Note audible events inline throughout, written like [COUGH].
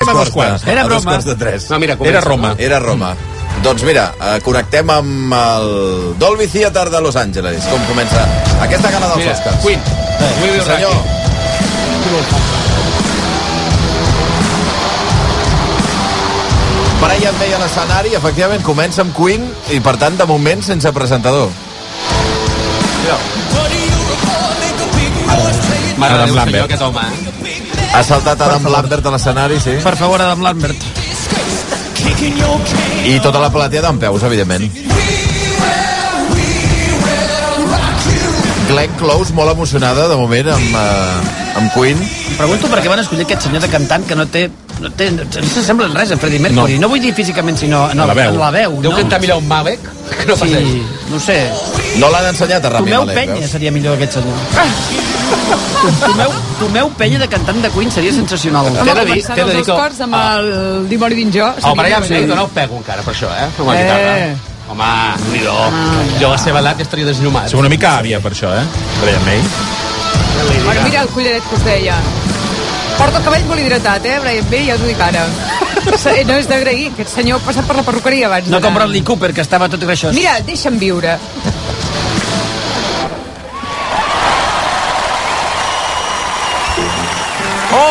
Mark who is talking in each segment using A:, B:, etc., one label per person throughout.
A: estem a dos quarts.
B: Era
C: a dos
B: broma.
C: quarts de tres.
A: No, mira, comença.
B: Era Roma.
C: Era Roma. Doncs mira, eh, connectem amb el Dolby Theater de Los Angeles. Com comença aquesta gala dels
A: Mira,
C: Oscars.
A: Queen. We will rock
C: Senyor,
A: you.
C: Brian May a l'escenari, efectivament, comença amb Queen i, per tant, de moment, sense presentador.
A: Mare de
B: Adam
A: Déu, senyor,
B: Lambert.
A: aquest home. eh?
C: Ha saltat Adam Lambert a l'escenari, sí.
B: Per favor, Adam Lambert.
C: I tota la platea d'en peus, evidentment. Glenn Close molt emocionada, de moment, amb, eh, amb Queen.
B: Em pregunto per què van escollir aquest senyor de cantant que no té... No, té, no s'assembla en res a Freddie Mercury. No. no vull dir físicament, sinó... No,
D: A la veu.
B: En la veu,
A: Deu
B: no?
A: cantar millor un Malek, [LAUGHS] que no passa
B: Sí, no ho sé.
C: No l'han ensenyat a Rami
B: Tomeu
C: Malek,
B: Penya
C: veus?
B: seria millor aquest senyor. Tomeu, Tomeu Penya de cantant de Queen seria sensacional.
A: Home,
E: T'he de dir,
A: començant
E: t'he de
A: els
E: dir que...
A: Oscars
E: amb el dimoni d'Injó.
A: El Brian May dona el pego encara per això, eh? Com a
E: Eh.
A: guitarra. Home, déu nhi
B: Ah,
A: Jo a la seva edat ja estaria desnumat.
D: Som una mica àvia per això, eh? Brian May.
E: Bueno, mira el collaret que us deia. Porta el cabell molt hidratat, eh, Brian May, ja us ho dic ara. Se- No és d'agrair, aquest senyor ha passat per la perruqueria abans.
B: No com
E: d'anar.
B: Bradley Cooper, que estava tot greixós.
E: Mira, deixa'm viure.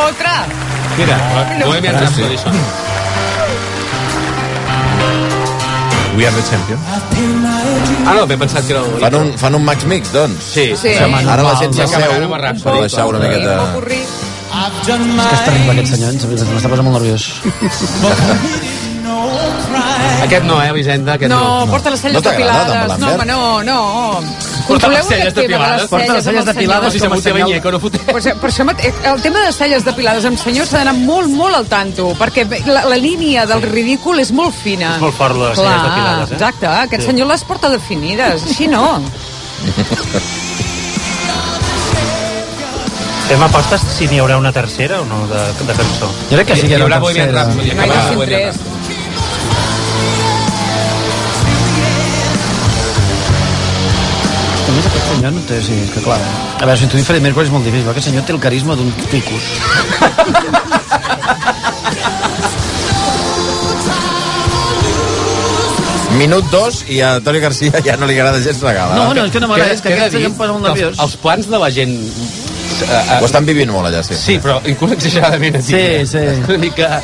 E: Otra!
A: Mira, Bohemian Rhapsody, això.
D: We are the champions.
A: Ah, no, ben pensat que era un...
C: Fan un, fan un Max Mix, doncs.
A: Sí,
E: Sí.
C: Ara la gent
A: Ja
C: s'asseu
A: acabarem amb Rhapsody.
C: per deixar una miqueta...
E: Popurrí.
B: És
E: eh?
B: que és terrible aquest senyor, eh? ens- ens- m'està posant molt nerviós.
A: Aquest no, eh, Vicenda? Aquest no.
E: No, porta les
C: No
E: celles
C: t'agrada,
E: depilades.
C: Adam
E: No, home,
C: Lambert?
E: no, no.
A: Porta les
E: Controleu aquest
A: celles
E: tema de les
A: depilades.
B: Porta les
E: celles
B: celles
E: amb els
B: depilades.
A: Però
E: senyors.
A: si se
B: com a
A: m'ho
B: senyal.
A: Ñeco, no fotem.
E: Pues, eh, per això mate- el tema de celles depilades amb senyors s'ha d'anar molt, molt al tanto, perquè la, la línia del ridícul és molt fina. És
F: molt fort, les celles depilades, eh?
E: Exacte, aquest sí. senyor les porta definides, així no.
F: Fem apostes si n'hi haurà una tercera o no de, de cançó.
B: Jo crec que sí que
A: Hi
B: era
A: haurà
B: una
A: Bohemian
B: tercera.
A: Rhapsody.
E: No hi
A: acabarà
E: deixin
A: Bohemian
E: tres.
A: Rhapsody.
B: A més, aquest senyor no té... Sí, és que clar... eh. A veure, si tu Freddie Mercury és molt difícil, però aquest senyor té el carisma d'un ticus.
C: Minut dos i a Toni Garcia ja no li agrada gens la gala.
B: No, no, és que no m'agrada, és que
A: Què he de
B: aquest senyor
A: dir?
B: em posa molt
A: Que els-
B: nerviós.
A: Els plans de la gent... eh,
C: Ho estan vivint molt allà, sí.
A: Sí, però inclús exageradament. et
B: Sí,
A: diria.
B: [LAUGHS] sí.
A: És Una mica...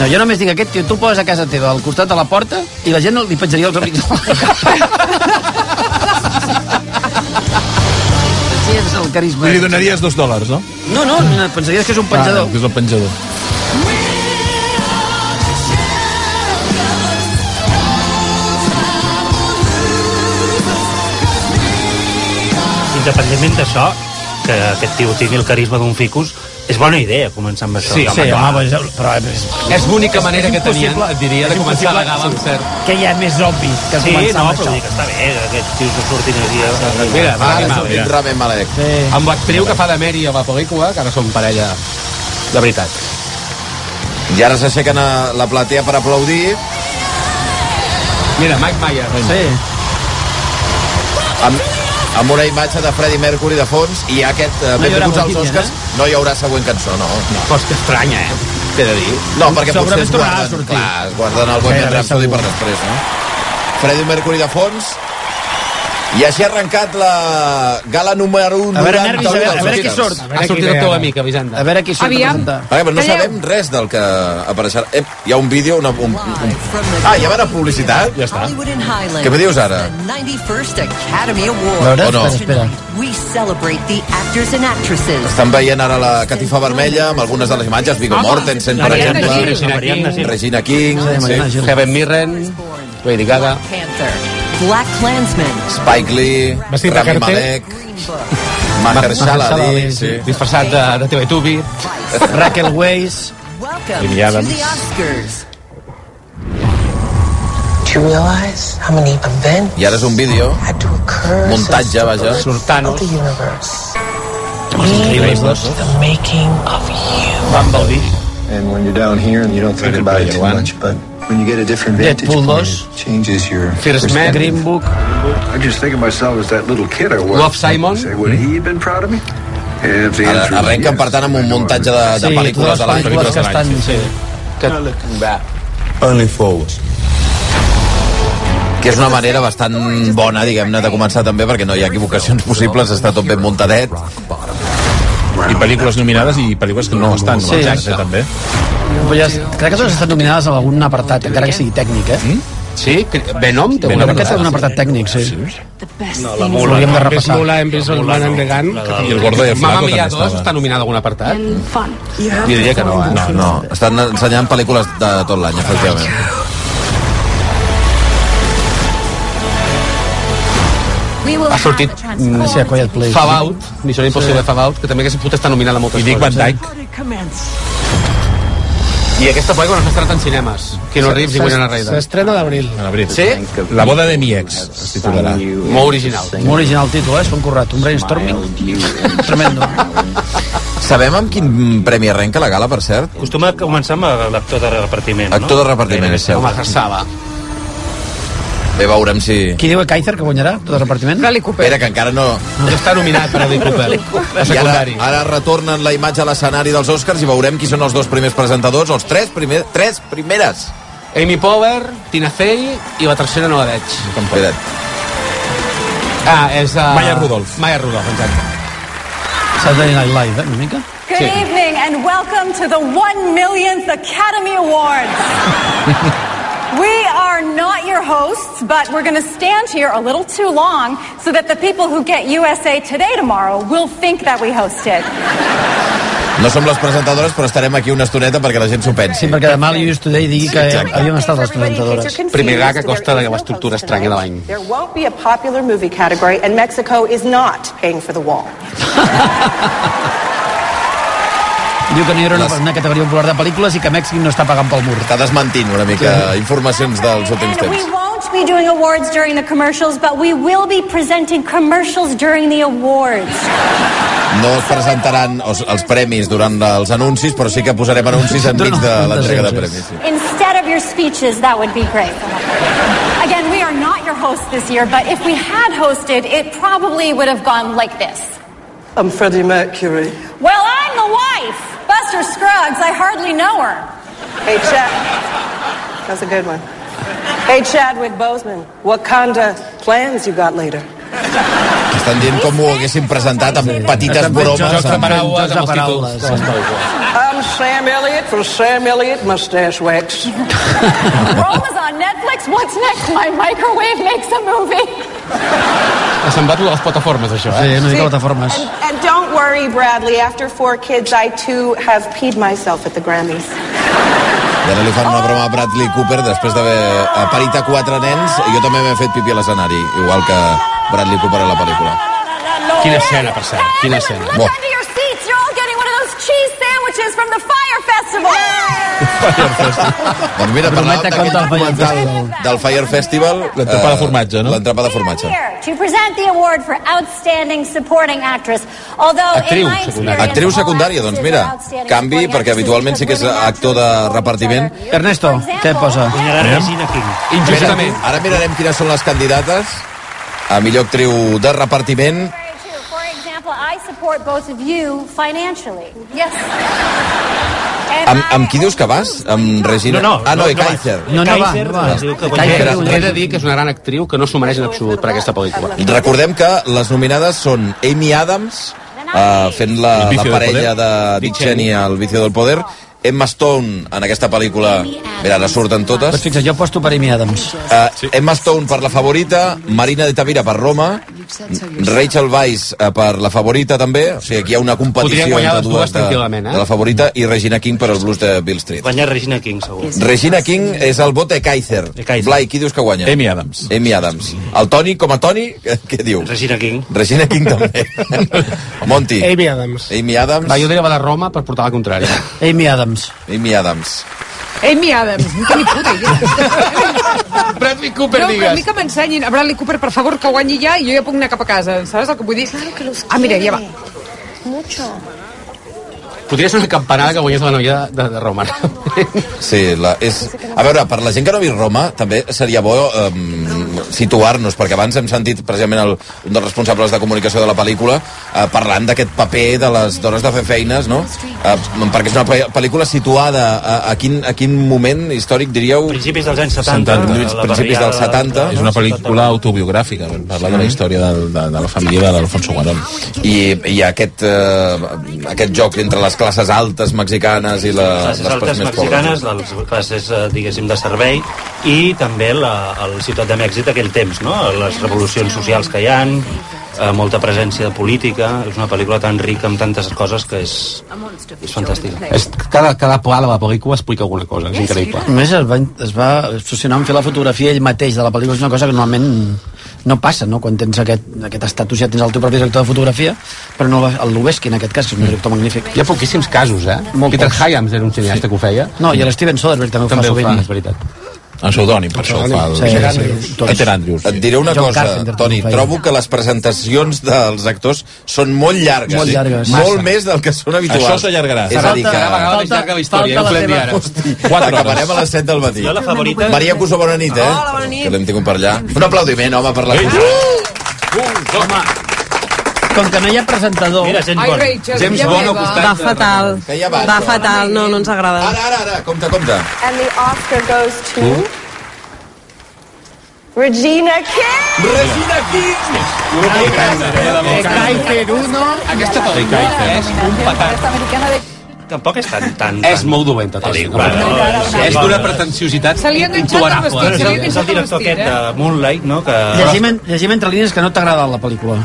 B: No, jo només dic aquest tio, tu poses a casa teva al costat de la porta i la gent li penjaria els abrics a la Sí, és el carisma. eh.
D: Li donaries dos dòlars, no?
B: No, no, no, pensaries que és un penjador.
D: Ah, que és el penjador.
F: Independentment d'això, que aquest tio tingui el carisma d'un ficus, és bona idea començar amb això.
A: Sí,
B: Sí,
F: clar.
B: home, però, però eh, és,
A: És l'única manera que tenien,
B: impossible-
A: et diria,
B: és
A: de començar la
B: impossible-
A: gala amb cert.
B: que hi ha més obvi que
F: Sí,
B: començar
F: no,
B: amb
F: però
B: això.
F: vull dir que està bé, que aquests tios no surtin aquí. eh, a-
A: Mira, va,
C: Ara és
A: animal,
C: un
A: mira.
C: dit Rami Malek.
B: Sí.
A: Amb l'actriu que fa de Mary a la pel·lícula, que ara són parella de veritat.
C: I ara s'aixequen a la platea per aplaudir.
A: Mira, Mike Myers.
B: Sí.
C: amb, amb una imatge de Freddie Mercury de fons i aquest, eh,
B: hi
C: benvinguts
B: haurà eh?
C: als
B: Bohemian,
C: Oscars, no hi haurà següent cançó, no. No,
A: Però és que estranya, eh? T'he de dir.
C: perquè potser
B: Mm, Segurament
C: es
B: tornarà a
C: guarden,
B: sortir.
C: clar, es guarden el Bohemian
B: Gairebé
C: Rhapsody
B: segur.
C: per després, no? Freddie Mercury de fons. I així ha arrencat la gala número 1.
B: A veure, nervis, a veure, a veure qui surt.
A: Ha sortit el teu amic, Avisanda.
B: A veure qui surt
E: Aviam.
B: a presentar.
C: Ara, però no
E: Calleu.
C: sabem res del que apareixerà. Ep, hi ha un vídeo, una, un, un... Ah, ja va anar a publicitat?
D: Ja està.
G: Hollywood and Highland.
C: Què me dius ara?
G: The 91st Academy Award.
B: A veure,
C: O no.
B: espera, espera.
G: We celebrate the actors and actresses.
C: Estan veient ara la catifa vermella amb algunes de les imatges. Viggo Mortensen, per
E: Mariana
C: exemple.
E: Gil.
A: Regina King,
C: Regina King.
B: Sí,
C: Sí.
B: Mariana Gil.
A: Kevin Mirren, Lady Gaga.
G: Black Panther. Black Klansman.
C: Spike Lee,
D: Vestit de
C: Rami
D: carter.
C: Malek,
G: Green Book.
B: [LAUGHS]
C: Mahershala Ali,
B: Ali,
C: sí.
A: Disfressat de, de TV Tubi.
G: Vice.
B: Raquel Weiss.
G: Welcome
D: Amy
G: to
D: Adams.
G: the Oscars.
H: Do you realize how many events
C: I ara és un vídeo,
H: had to occur since
C: muntatge,
H: the
C: vaja.
H: birth of
A: Surtanos.
H: the universe? We witnessed the making of you.
F: Van Baldi.
I: And when you're down here and you don't think about it too much, but when you get a different vintage
B: Deadpool
I: point,
B: dos.
I: it changes your
A: Fierce Man.
I: perspective.
B: Green Book.
I: I just think of myself as that little kid I was.
A: Love, Simon. Hmm?
I: Say, would he have been proud of me? And if the
C: Ara,
I: answer was
J: Ah,
C: arrenquen,
I: yes,
C: per tant, amb un
I: I know I
C: muntatge de, de
B: Sí,
C: pel·lícules
B: totes
C: de
B: les
C: l'any.
B: pel·lícules que estan... Sí. que
K: Only forward.
C: Que és una manera bastant bona, diguem-ne, de començar també, perquè no hi ha equivocacions possibles, està tot ben muntadet.
D: I pel·lícules nominades i pel·lícules que no estan
B: Sí.
D: nominades, eh, també.
B: Però ja, crec que totes estan nominades en algun apartat, encara que sigui tècnic, eh? Mm?
A: Sí, cre- Venom té una
B: Crec que té un apartat tècnic, sí. Ho hauríem de repassar.
A: Mula, hem vist el Man and the Gun.
D: I el Gordo i el
A: Mamma
D: Flaco també
A: Mia 2
D: estava.
A: està nominada a algun apartat?
L: Yeah.
A: Jo diria que no, eh?
C: No, no, estan ensenyant pel·lícules de tot l'any, efectivament.
B: Ha sortit... Mm, sí, a Quiet Place.
A: Fall Out, Missió Impossible Fall Out, que també que pot estar nominada a moltes
D: I Dick Van
A: coses. eh?
D: Dyke.
A: I aquesta pel·lícula no s'ha estrenat en cinemes. Keanu Reeves i Winona Ryder.
B: S'estrena d'abril.
D: En abril.
A: Sí?
D: La boda de mi ex, es titularà.
A: Molt original.
B: Molt original el títol, eh? És concorrat. Un brainstorming tremendo.
C: Sabem amb quin premi arrenca la gala, per cert?
F: Acostuma a començar amb eh, l'actor de repartiment, no?
C: Actor de repartiment, és seu.
A: Home, Harsava.
C: Bé, veurem si...
B: Qui diu a Kaiser que guanyarà tot el repartiment?
E: Bradley Cooper.
C: Espera, que encara no...
A: No està nominat per Bradley Cooper. A
C: I ara,
A: secundari.
C: ara retornen la imatge a l'escenari dels Oscars i veurem qui són els dos primers presentadors, els tres, primer, tres primeres.
A: Amy Power, Tina Fey i la tercera no la veig.
C: Espera't.
A: Ah, és... Uh...
D: Maya Rudolph.
A: Maya Rudolph, exacte.
B: Saturday Night Live, eh? Una mica.
L: Good evening and welcome to the one millionth Academy
E: [LAUGHS]
L: Awards. we are not your hosts, but we're going to stand here a little too long so that the people who get USA Today tomorrow will think that we hosted.
E: Oh
C: No som les presentadores, però estarem aquí una estoneta perquè la gent s'ho
B: Sí,
C: pensi.
B: perquè demà l'Ius Today digui que havíem estat les presentadores.
A: Primer gag que costa de l'estructura estranya de l'any.
M: There won't be a popular movie category, and Mexico is not paying for the wall.
B: Diu que no hi haurà una,
C: Les-
B: una categoria popular de pel·lícules i que Mèxic no està pagant pel mur.
C: Està desmentint una mica informacions dels últims
L: And we
C: temps.
L: won't be doing awards during the commercials, but we will be presenting commercials during the awards.
C: No es presentaran els, els premis durant els anuncis, però sí que posarem anuncis enmig de l'entrega de premis. sí.
L: Instead of your speeches, that would be great. Again, we are not your hosts this year, but if we had hosted, it probably would have gone like this.
M: I'm Freddie Mercury.
L: Well, I'm the wife. Buster Scruggs, I hardly know her.
M: Hey, Chad. That's a good one. Hey, Chadwick Boseman, what kind of plans you got later?
C: Estan dient com ho haguessin presentat amb petites bromes.
A: Jocs de
C: amb-
A: paraules amb els
B: paraules,
A: títols. de les pel·lícules.
M: I'm Sam Elliott for Sam Elliott Mustache Wax.
L: Rome is on Netflix. What's next? My microwave makes a movie.
A: Ha semblat lo de les plataformes, això,
B: Sí,
A: eh?
B: una mica plataformes.
M: And don't worry, Bradley. After four kids, I too have peed myself at the Grammys.
C: I ara li fan una broma a Bradley Cooper després d'haver parit a quatre nens i jo també m'he fet pipi a l'escenari, igual que Bradley Cooper a la pel·lícula.
A: Quina escena, per cert, quina escena.
L: Look
C: Bo.
L: under your seats. You're all getting one of those cheese sandwiches from the Fire Festival.
C: Doncs mira, parlàvem
B: Brometa contra el
C: d'aquest
B: Fire
C: documental del Fire Festival.
D: L'entrapada
C: eh,
D: de formatge, no?
C: L'entrapada de formatge.
L: Here to present the award for Outstanding Supporting Actress. Although
A: Actriu
L: in my
A: secundària.
L: experience,
C: Actriu
L: all
C: secundària, doncs
L: actresses
C: mira,
L: are outstanding
C: canvi,
L: supporting
C: perquè
L: actresses
C: habitualment sí que és
L: because
C: actor de
L: women
C: repartiment.
L: outperform each other.
B: Ernesto,
L: For
B: què
L: example,
B: posa?
F: Guanyarà Regina King.
A: Injustament.
C: Ara, ara mirarem quines són les candidates a millor actriu de repartiment.
L: For example, I support both of you financially. Yes.
C: Amb, amb qui dius que vas? Amb Regina?
F: No, no,
C: ah, no,
F: no,
C: i
F: no vas.
C: Kaiser.
B: No, no, va,
F: Kaiser,
B: no va.
F: es diu que
B: Kaiser,
A: Però
B: diu-
A: he de dir que és una gran actriu que no s'ho mereix en absolut per aquesta pel·lícula.
C: Recordem que les nominades són Amy Adams, eh, fent
D: El
C: la, la
D: vicio del
C: parella
D: poder.
C: de Dick Cheney al Vicio del Poder, Emma Stone en aquesta pel·lícula, mira, ara surten
B: Doncs
C: totes,
B: fixa, jo aposto per Amy Adams.
C: eh, Emma Stone per la favorita, Marina de Tavira per Roma, Rachel Weisz eh, per la favorita també, o sigui, aquí hi ha una
A: Podrien
C: competició
A: guanyar
C: entre
A: les
C: dues
A: dues
C: de,
A: tranquil·lament, eh?
C: de la favorita i Regina King per el blues de Bill Street.
F: Guanyar Regina King, segur.
C: Regina King és el vot de Kaiser.
F: De Kaiser.
C: Blai, qui dius que guanya?
D: Amy Adams.
C: Amy Adams. El Toni, com a Toni, [LAUGHS] què, què diu?
F: Regina King.
C: Regina King també. [LAUGHS] Monty.
A: Amy Adams.
C: Amy Adams.
A: Va, jo diria la de Roma per portar la contrària.
B: Amy Adams.
C: Amy Adams.
E: Amy [LAUGHS] Adams, no té ni puta idea.
A: Bradley
E: No,
A: Cooper,
E: però a mi que m'ensenyin a Bradley Cooper, per favor, que guanyi ja i jo ja puc anar cap a casa, saps el que vull dir? Ah, mira, ja va.
A: Podria ser una campanada que guanyés la noia de, de Roma.
C: Sí, la, és... A veure, per la gent que no ha vist Roma, també seria bo eh, situar-nos, perquè abans hem sentit precisament el, un dels responsables de comunicació de la pel·lícula eh, parlant d'aquest paper de les dones de fer feines, no? Eh, perquè és una pe- pel·lícula situada a, a, quin, a quin moment històric, diríeu?
F: Principis dels anys 70. la
C: Principis
F: barriada
C: dels 70.
F: de-
D: És una pel·lícula autobiogràfica, parla de la història de, de, de la família de l'Alfonso Guarón.
C: I, i aquest, eh, aquest joc entre les classes altes mexicanes i la,
F: les altes mexicanes, les classes, eh, diguéssim, de servei, i també la, el Ciutat de Mèxic d'aquell temps, no? Les revolucions socials que hi han, eh, molta presència de política, és una pel·lícula tan rica amb tantes coses que és, és fantàstica.
A: És, cada, cada pla de la pel·lícula explica alguna cosa, és increïble.
B: A més, es va, es va obsessionar en fer la fotografia ell mateix de la pel·lícula, és una cosa que normalment no passa, no? Quan tens aquest, aquest estatus ja tens el teu propi director de fotografia, però no el Lubeski, en aquest cas, que és un director magnífic.
A: Hi ha poquíssims casos, eh? Molt Peter
B: pocs.
A: Hyams era un cineasta sí. que ho feia.
B: No, i el Steven Soderbergh també ho
A: També
B: fa
A: ho fa,
B: sovint.
A: és veritat.
D: En pseudònim, per això ho fa el...
B: Sí, sí, tots.
D: Peter Andrews.
C: Et diré una
B: John
C: cosa,
B: Carpenter,
C: Toni,
B: com ho feia.
C: trobo que les presentacions dels actors són molt llargues.
B: Molt
C: sí?
B: llargues.
C: Molt
B: Massa.
C: més del que són habituals.
D: Això s'allargarà.
C: És a dir que...
A: Cada vegada més llarga la història, ja ho
B: falta la
A: podem dir ara.
D: Quatre hores.
C: Acabarem a les 7 del matí.
F: Jo la favorita...
C: Maria Cusó, bona nit, eh?
H: Hola, bona nit.
C: Que l'hem tingut per allà. Un aplaudiment, home, per la Cusó.
B: Com que no hi ha presentador...
F: Mira, James
E: Ai,
F: Bond.
E: Rachel,
A: James
E: ja
A: Bond al
E: meva.
A: costat.
H: Va fatal.
C: Que ja va,
H: Va
C: això.
H: fatal, no, no ens agrada.
C: Ara, ara, ara, compte, compte.
G: And the Oscar goes to Regina King.
C: Regina King!
B: eh,
A: Aquesta pel·lícula és un petat.
F: Tampoc és tan... tan, tan
A: És molt dolenta, tot.
F: Pel·lícula.
A: És d'una pretensiositat
E: Se li ha enganxat el
A: intolerable.
E: vestit, se li ha
F: És el director aquest
H: eh?
F: de Moonlight, no?, que...
B: Llegim, en- llegim entre línies que no t'ha agradat la pel·lícula.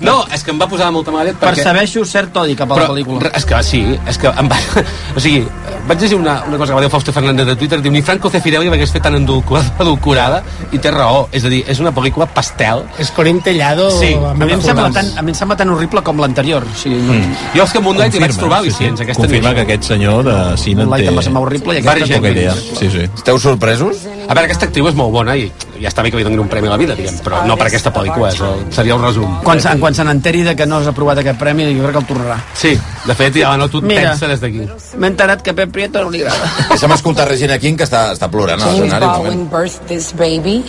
A: No, és que em va posar de molta mala llet perquè...
B: Percebeixo cert odi cap a la pel·lícula.
A: re- És que sí, és que em va... [LAUGHS] O sigui, vaig llegir una, una cosa que va dir el Fausto Fernández de Twitter, diu, ni Franco Cefirelli l'hagués fet tan endulcorada, [LAUGHS] edulcorada", i té raó. És a dir, és una pel·lícula pastel.
N: Es Corín Tellado.
A: Sí,
N: a
B: A mi, em sembla
N: Fulans.
B: tan, a mi em sembla tan horrible com l'anterior. O sigui, no, mm.
A: Jo és que Moonlight hi vaig trobar
D: sí, sí.
A: al·lucinants, aquesta
D: Confirma
A: nit.
D: que aquest senyor de cine en
B: Moonlight
D: té...
B: em va semblar horrible i aquesta
D: Varia
B: també.
D: poca idea. Sí, sí.
C: Esteu sorpresos?
A: A veure, aquesta actriu és molt bona i ja està bé que li donin un premi a la vida, diguem, però no per aquesta pel·lícula, és el, seria el resum.
B: Quan, se- quan se n'enteri de que no has aprovat aquest premi, jo crec que el tornarà.
A: Sí, de fet, ja no tu et
B: Mira.
A: pensa des d'aquí.
B: M'he enterat que a Pep Prieto no li [LAUGHS] agrada.
C: Deixa'm escoltar Regina King, que està, està plorant a l'escenari. un moment.
H: birthed this baby.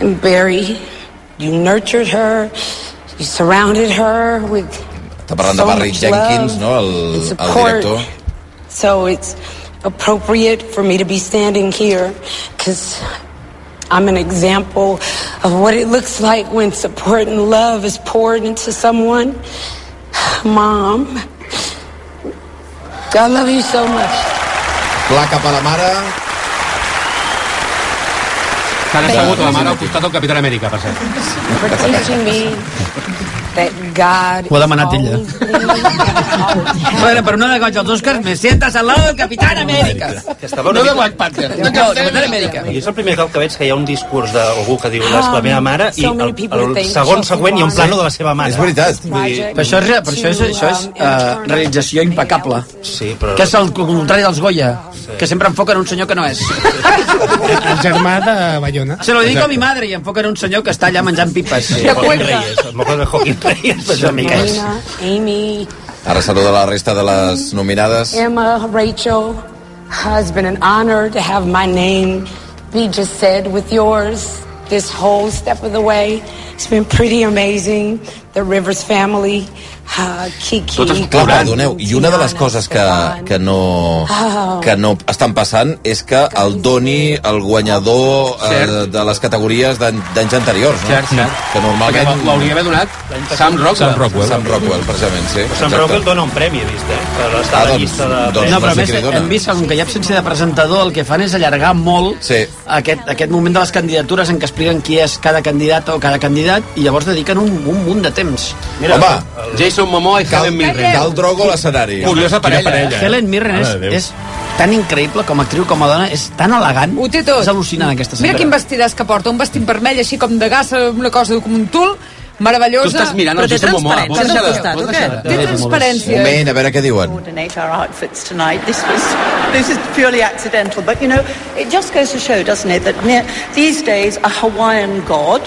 H: And Barry, you nurtured her, you surrounded her with
C: Està parlant de Barry Jenkins, no?, el, el director.
H: So it's appropriate for me to be standing here because I'm an example of what it looks like when support and love is poured into someone. Mom, I love you so much.
C: Pla cap a la mare.
A: S'han assegut la mare al costat del Capitán Amèrica, per cert.
H: For teaching me that God
B: Ho ha
H: is
B: demanat ella.
H: always [LAUGHS] there.
B: A veure, per una de goig als Oscars, me sientes al lado del Capitán América.
F: Que estava una mica...
B: Panther. No, Capitán América.
F: I és el primer cop que veig que hi ha un discurs d'algú que diu la, la meva mare i
H: Ah, So
F: el,
H: many people
F: el
H: think
F: segon
H: Chelsea
F: següent hi ha un
H: Bond.
F: plano de la seva mare.
C: És veritat.
B: Però això és, però això és, això és uh, realització impecable.
F: Sí, però...
B: Que és el contrari dels Goya, que sempre enfoquen un senyor que no és.
N: El germà de Bayona.
B: Se lo digo a mi madre i enfoquen un senyor que està allà menjant pipes.
E: De
F: Joaquín
E: cuenta.
F: Reyes, el moco de Joaquín Reyes.
B: [LAUGHS] Sí, una mica és.
H: Marina, Amy,
C: Ara saluda la resta de les nominades.
H: Emma, Rachel, has been an honor to have my name be just said with yours this whole step of the way. It's been pretty amazing. The Rivers family, uh, Kiki.
C: Totes clar, perdoneu, i una de les coses que, que, no, que no estan passant és que el doni el guanyador eh, de les categories d'an- d'anys anteriors, no?
A: Cert, cert.
C: Que
A: Perquè
C: normalment...
A: l'hauria d'haver donat Sam Rockwell.
D: Sam Rockwell.
C: Sam Rockwell, precisament, sí.
F: Sam Rockwell dona un premi, he vist, eh? Però està
C: Ah,
F: a la
C: doncs,
F: llista de...
C: doncs
F: premis.
B: No, però a
C: sé
B: més
C: què li dona.
B: hem vist que com que hi ha absència de presentador el que fan és allargar molt
C: Sí.
B: aquest, aquest moment de les candidatures en què expliquen qui és cada candidat o cada candidat i llavors dediquen un, un munt de temps.
C: Mira, Home,
A: Jason Momoa i
C: cal,
A: Helen Mirren.
C: cal drogo a l'escenari.
A: Curiosa parella.
D: parella.
A: eh?
B: Helen Mirren és,
D: Mare de Déu.
B: és tan increïble com a actriu, com a dona, és tan elegant.
E: Ho té tot.
B: És al·lucinant, aquesta
E: Mira
B: senyora.
E: quin vestidàs que porta, un vestit vermell així com de gassa, una cosa com un tul,
A: Tu
E: meravellosa.
A: estàs mirant el
N: Però té
A: Jason Momoa.
N: transparència
A: Vols
N: al
A: deixar de-
N: costat,
A: vols
N: o
A: deixar de-
E: Té transparència.
C: Moment, a veure què diuen.
H: coordinate our outfits tonight. This was this is purely accidental, but you know, it just goes to show, doesn't it, that near, these days a Hawaiian god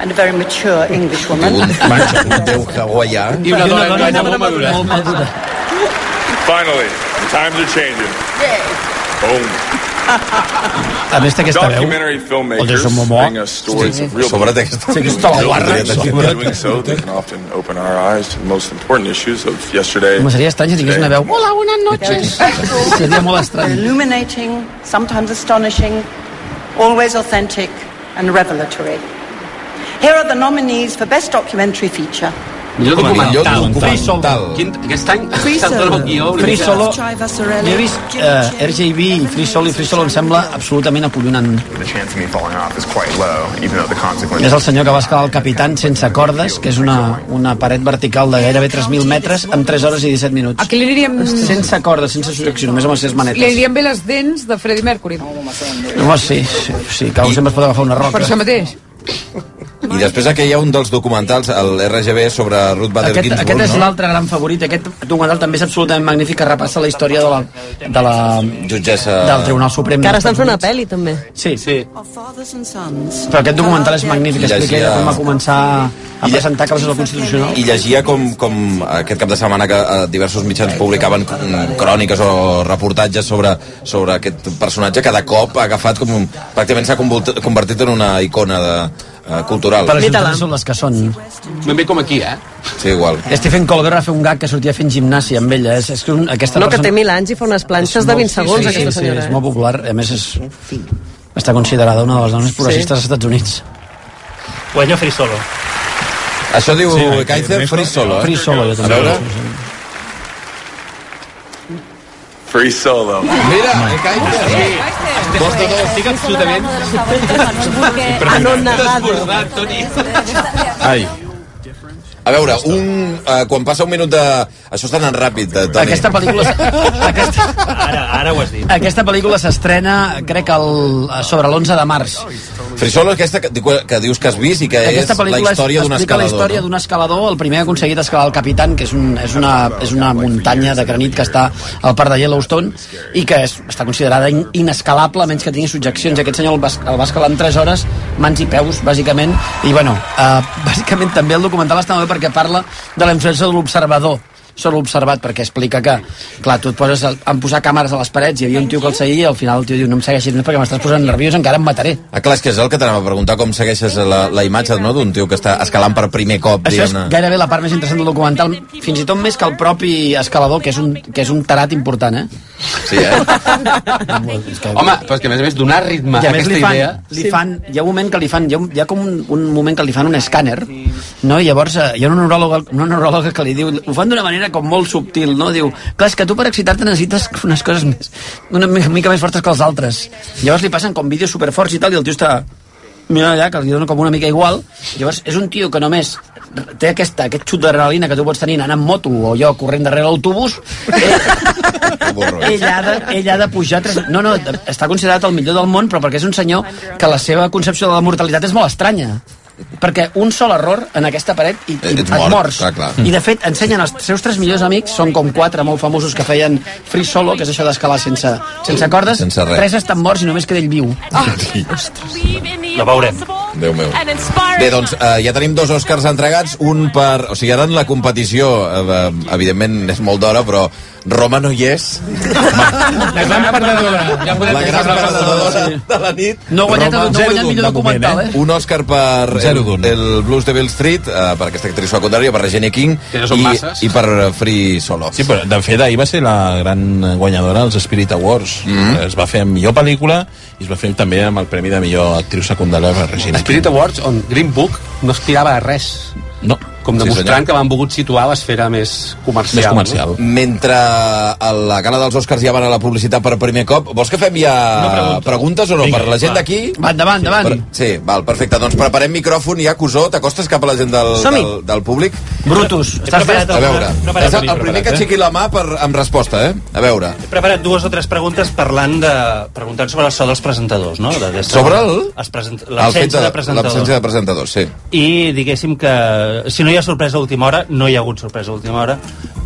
H: and a very mature English woman.
C: Un,
H: [LAUGHS]
C: un déu hawaià.
A: I una dona, una dona,
B: molt madura. Molt madura.
O: Finally, times are changing. Boom.
B: A més té aquesta veu.
O: Documentary
A: Oh,
B: El de
O: filmmakers
B: Momoa.
O: bring us stories of real
C: Sobre aquesta-
O: people.
B: aquesta barra, sobre-
O: Doing so, they can often open our eyes to the most important issues of yesterday.
B: Home, seria estrany si tingués una veu...
P: Hola, buenas
B: noches. Seria molt estrany.
P: Illuminating, sometimes astonishing, always authentic and revelatory. Here are the nominees for Best Documentary Feature.
A: eh? Millor documental.
C: Millor
A: Free Solo.
C: documental.
A: Quin, aquest any [LAUGHS]
P: Free
A: està tot
P: Solo.
A: el guió. una
B: Free
A: mica-
B: Solo, jo he vist eh, RJB i Free Solo, i Free Solo em sembla absolutament apollinant.
O: The chance of me falling off is quite low, even though the consequences.
B: És el senyor que va escalar el Capitán sense cordes, que és una, una paret vertical de gairebé 3.000 metres, en 3 hores i 17 minuts.
E: Aquí li diríem...
B: Sense cordes, sense subjecció, només amb les seves
E: Li
B: manetes.
E: diríem bé les dents de Freddie Mercury.
B: Home, sí, sí, sí, que sempre es pot agafar una
E: Per
B: roca.
E: això mateix.
C: I després aquí hi ha un dels documentals, el RGB, sobre Ruth Bader
B: Aquest,
C: Ginsburg,
B: aquest és
C: no?
B: l'altre gran favorit. Aquest documental també és absolutament magnífic, que repassa la història de la, de la,
C: Jutgessa...
B: del Tribunal Suprem.
Q: Que ara estan
B: dels
Q: fent una
B: Estats
Q: pel·li,
B: Units.
Q: també.
B: Sí, sí.
P: Però
B: Però aquest documental és magnífic, explica ella com va començar a presentar causes al Constitucional.
C: I llegia com, com aquest cap de setmana que eh, diversos mitjans publicaven mm, cròniques o reportatges sobre, sobre aquest personatge que de cop ha agafat com... un- Pràcticament s'ha convolt- convertit en una icona de, eh, cultural.
B: Però les juntes són les que són.
A: Ben bé com aquí, eh?
C: Sí, igual.
B: Stephen Colbert va fer un gag que sortia fent gimnàsia amb ella. És, és que un, aquesta
Q: No, que
B: persona...
Q: té mil anys i fa unes planxes de 20 segons,
B: sí,
Q: aquesta
B: sí,
Q: senyora. eh?
B: Sí, és molt popular. A més, és, està considerada una de les dones progressistes als Estats Units.
F: Guanya Free Solo.
C: Això diu
F: Sí,
C: sí,
F: eh,
C: Kaiser
F: Ernesto-
C: Free Solo, eh?
B: Free Solo, jo també.
C: A veure,
O: Free solo.
C: mira, eh, Kaiser.
A: Dos de dos. Estic absolutament... Desbordat, Toni.
C: Ai. A veure, un, eh, quan passa un minut de... Això està anant ràpid, eh, Toni.
B: Aquesta pel·lícula... [LAUGHS] aquesta...
F: Ara, ara ho has dit.
B: Aquesta pel·lícula s'estrena, crec, el, sobre l'11 de març.
C: Frisol, aquesta que, que dius que has vist i que és
B: Aquesta
C: la
B: pel·lícula és-
C: història d'un
B: explica la
C: escalador.
B: història d'un escalador, el primer que ha aconseguit escalar el Capitán, que és, un, és, una, és una muntanya de granit que està al parc de Yellowstone i que és, està considerada in, inescalable, a menys que tingui subjeccions. I Aquest senyor el va, es- el va escalar en 3 hores, mans i peus, bàsicament. I, bueno, eh, [LAUGHS] bàsicament també el documental està molt bé perquè parla de la influència de l'observador sobre l'observat, perquè explica que, clar, tu et poses a, en posar càmeres a les parets, i hi havia un tio que el seguia i al final el tio diu no em segueixis més perquè m'estàs posant nerviós, encara em mataré.
C: Ah, clar, és que és el que t'anava a preguntar com segueixes la, la imatge no? d'un tio que està escalant per primer cop,
B: Això és
C: diguem-ne.
B: gairebé la part més interessant del documental, fins i tot més que el propi escalador, que és un, que és un tarat important, eh?
C: Sí,
B: [LAUGHS]
C: eh?
A: Home, però és que a més a més donar ritme
B: I
A: a
B: a més
A: aquesta
B: li fan,
A: idea...
B: li fan, hi ha un moment que li fan, hi ha, un- hi ha com un, un moment que li fan un escàner, no? I llavors eh, hi ha una neuròloga, una neuròloga que li diu, ho fan d'una manera com molt subtil, no? Diu, clar, és que tu per excitar-te necessites unes coses més, una mi- mica més fortes que els altres. Llavors li passen com vídeos superforts i tal, i el tio està mira allà, que li dona com una mica igual. Llavors, és un tio que només té aquesta, aquest xut d'adrenalina que tu pots tenir anant en moto o jo corrent darrere l'autobús, eh,
C: eh?
B: ell ha, de, ell ha de pujar... Tres... No, no, està considerat el millor del món, però perquè és un senyor que la seva concepció de la mortalitat és molt estranya. Perquè un sol error en aquesta paret i, i
C: Eh, Ets
B: et
C: mort,
B: mors.
C: clar, clar.
B: I de fet ensenyen els seus tres millors amics, són com quatre molt famosos que feien free solo, que és això d'escalar sense, sense cordes.
C: Sense res.
B: tres estan morts i només queda ell viu.
C: La veurem. Déu meu. Bé, doncs eh, ja tenim dos Oscars entregats, un per... O sigui, ara en la competició, eh, eh, evidentment és molt d'hora, però Roma no hi és.
N: La gran perdedora.
A: Ja
C: La gran perdedora de la nit.
B: No ha guanyat-
C: Roma,
B: no ha guanyat millor documental, eh?
C: Un Òscar per el, el Blues de Bill Street, eh, per aquesta actriu secundària, per Regina King,
A: Que no són
C: i,
A: masses.
C: i per Free Solo.
D: Sí, però de fet ahir va ser la gran guanyadora dels Spirit Awards.
C: Mm-hmm.
D: Mm -hmm. Es va fer amb millor pel·lícula i es va fer també amb el premi de millor actriu secundària per Regina.
A: Spirit Awards, on Green Book no aspirava a res.
D: No.
A: Com
D: Sí,
A: demostrant
D: senyor.
A: que van volgut situar a l'esfera més comercial.
D: Més comercial.
C: Mentre a la gala dels Oscars ja van a la publicitat per primer cop, vols que fem ja preguntes o no?
D: Vinga,
C: per la gent
D: va.
C: d'aquí?
B: Va, endavant, endavant.
C: Per- Sí, val, perfecte. Doncs preparem micròfon ja, Cusó, t'acostes cap a la gent del,
B: Som-hi.
C: del, del públic.
B: Brutus, estàs
F: preparat,
B: fet?
C: A veure,
F: preparat,
C: és el, el
F: preparat,
C: primer que
F: eh?
C: aixequi la mà per, amb resposta, eh? A veure,
F: He preparat dues o tres preguntes parlant de... preguntant sobre el so dels presentadors, no? De, de,
C: Sobre el-
F: els present-
C: el fet
F: L'absència de, presentadors.
C: l'absència de presentadors, sí.
F: I diguéssim que si no hi ha sorpresa a última hora, no hi ha hagut sorpresa a última hora,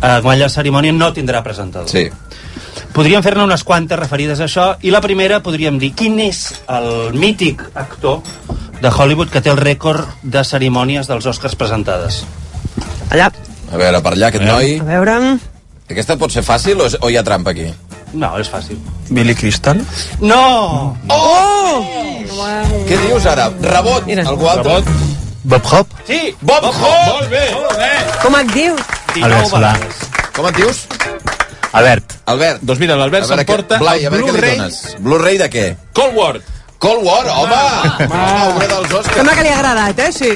F: eh, quan la cerimònia no tindrà presentador.
C: Sí.
F: Podríem fer-ne unes quantes referides a això, i la primera podríem dir quin és el mític actor de Hollywood que té el rècord de cerimònies dels Oscars presentades.
Q: Allà,
C: A veure, per allà, aquest noi...
Q: a veure...
C: Aquesta pot ser fàcil o, és, o hi ha trampa aquí?
F: No, és fàcil.
R: Billy Crystal?
C: No! Oh! Què dius ara? Rebot, Mira. algú altre? Rebot.
R: Bob Hop?
C: Sí, Bob, Bob Hope! Molt bé! Molt bé!
Q: Com et dius?
R: Albert Solà.
C: Com et dius?
R: Albert.
C: Albert.
D: Doncs mira, l'Albert
C: A veure
D: s'emporta
C: què- Blai, a
D: el
C: veure què li
D: Blu-ray.
C: dones. Blu-ray de què?
D: Cold War.
C: Cold War, home! Una obra dels
Q: Sembla
C: Oscars.
Q: que li ha agradat, eh? Sí.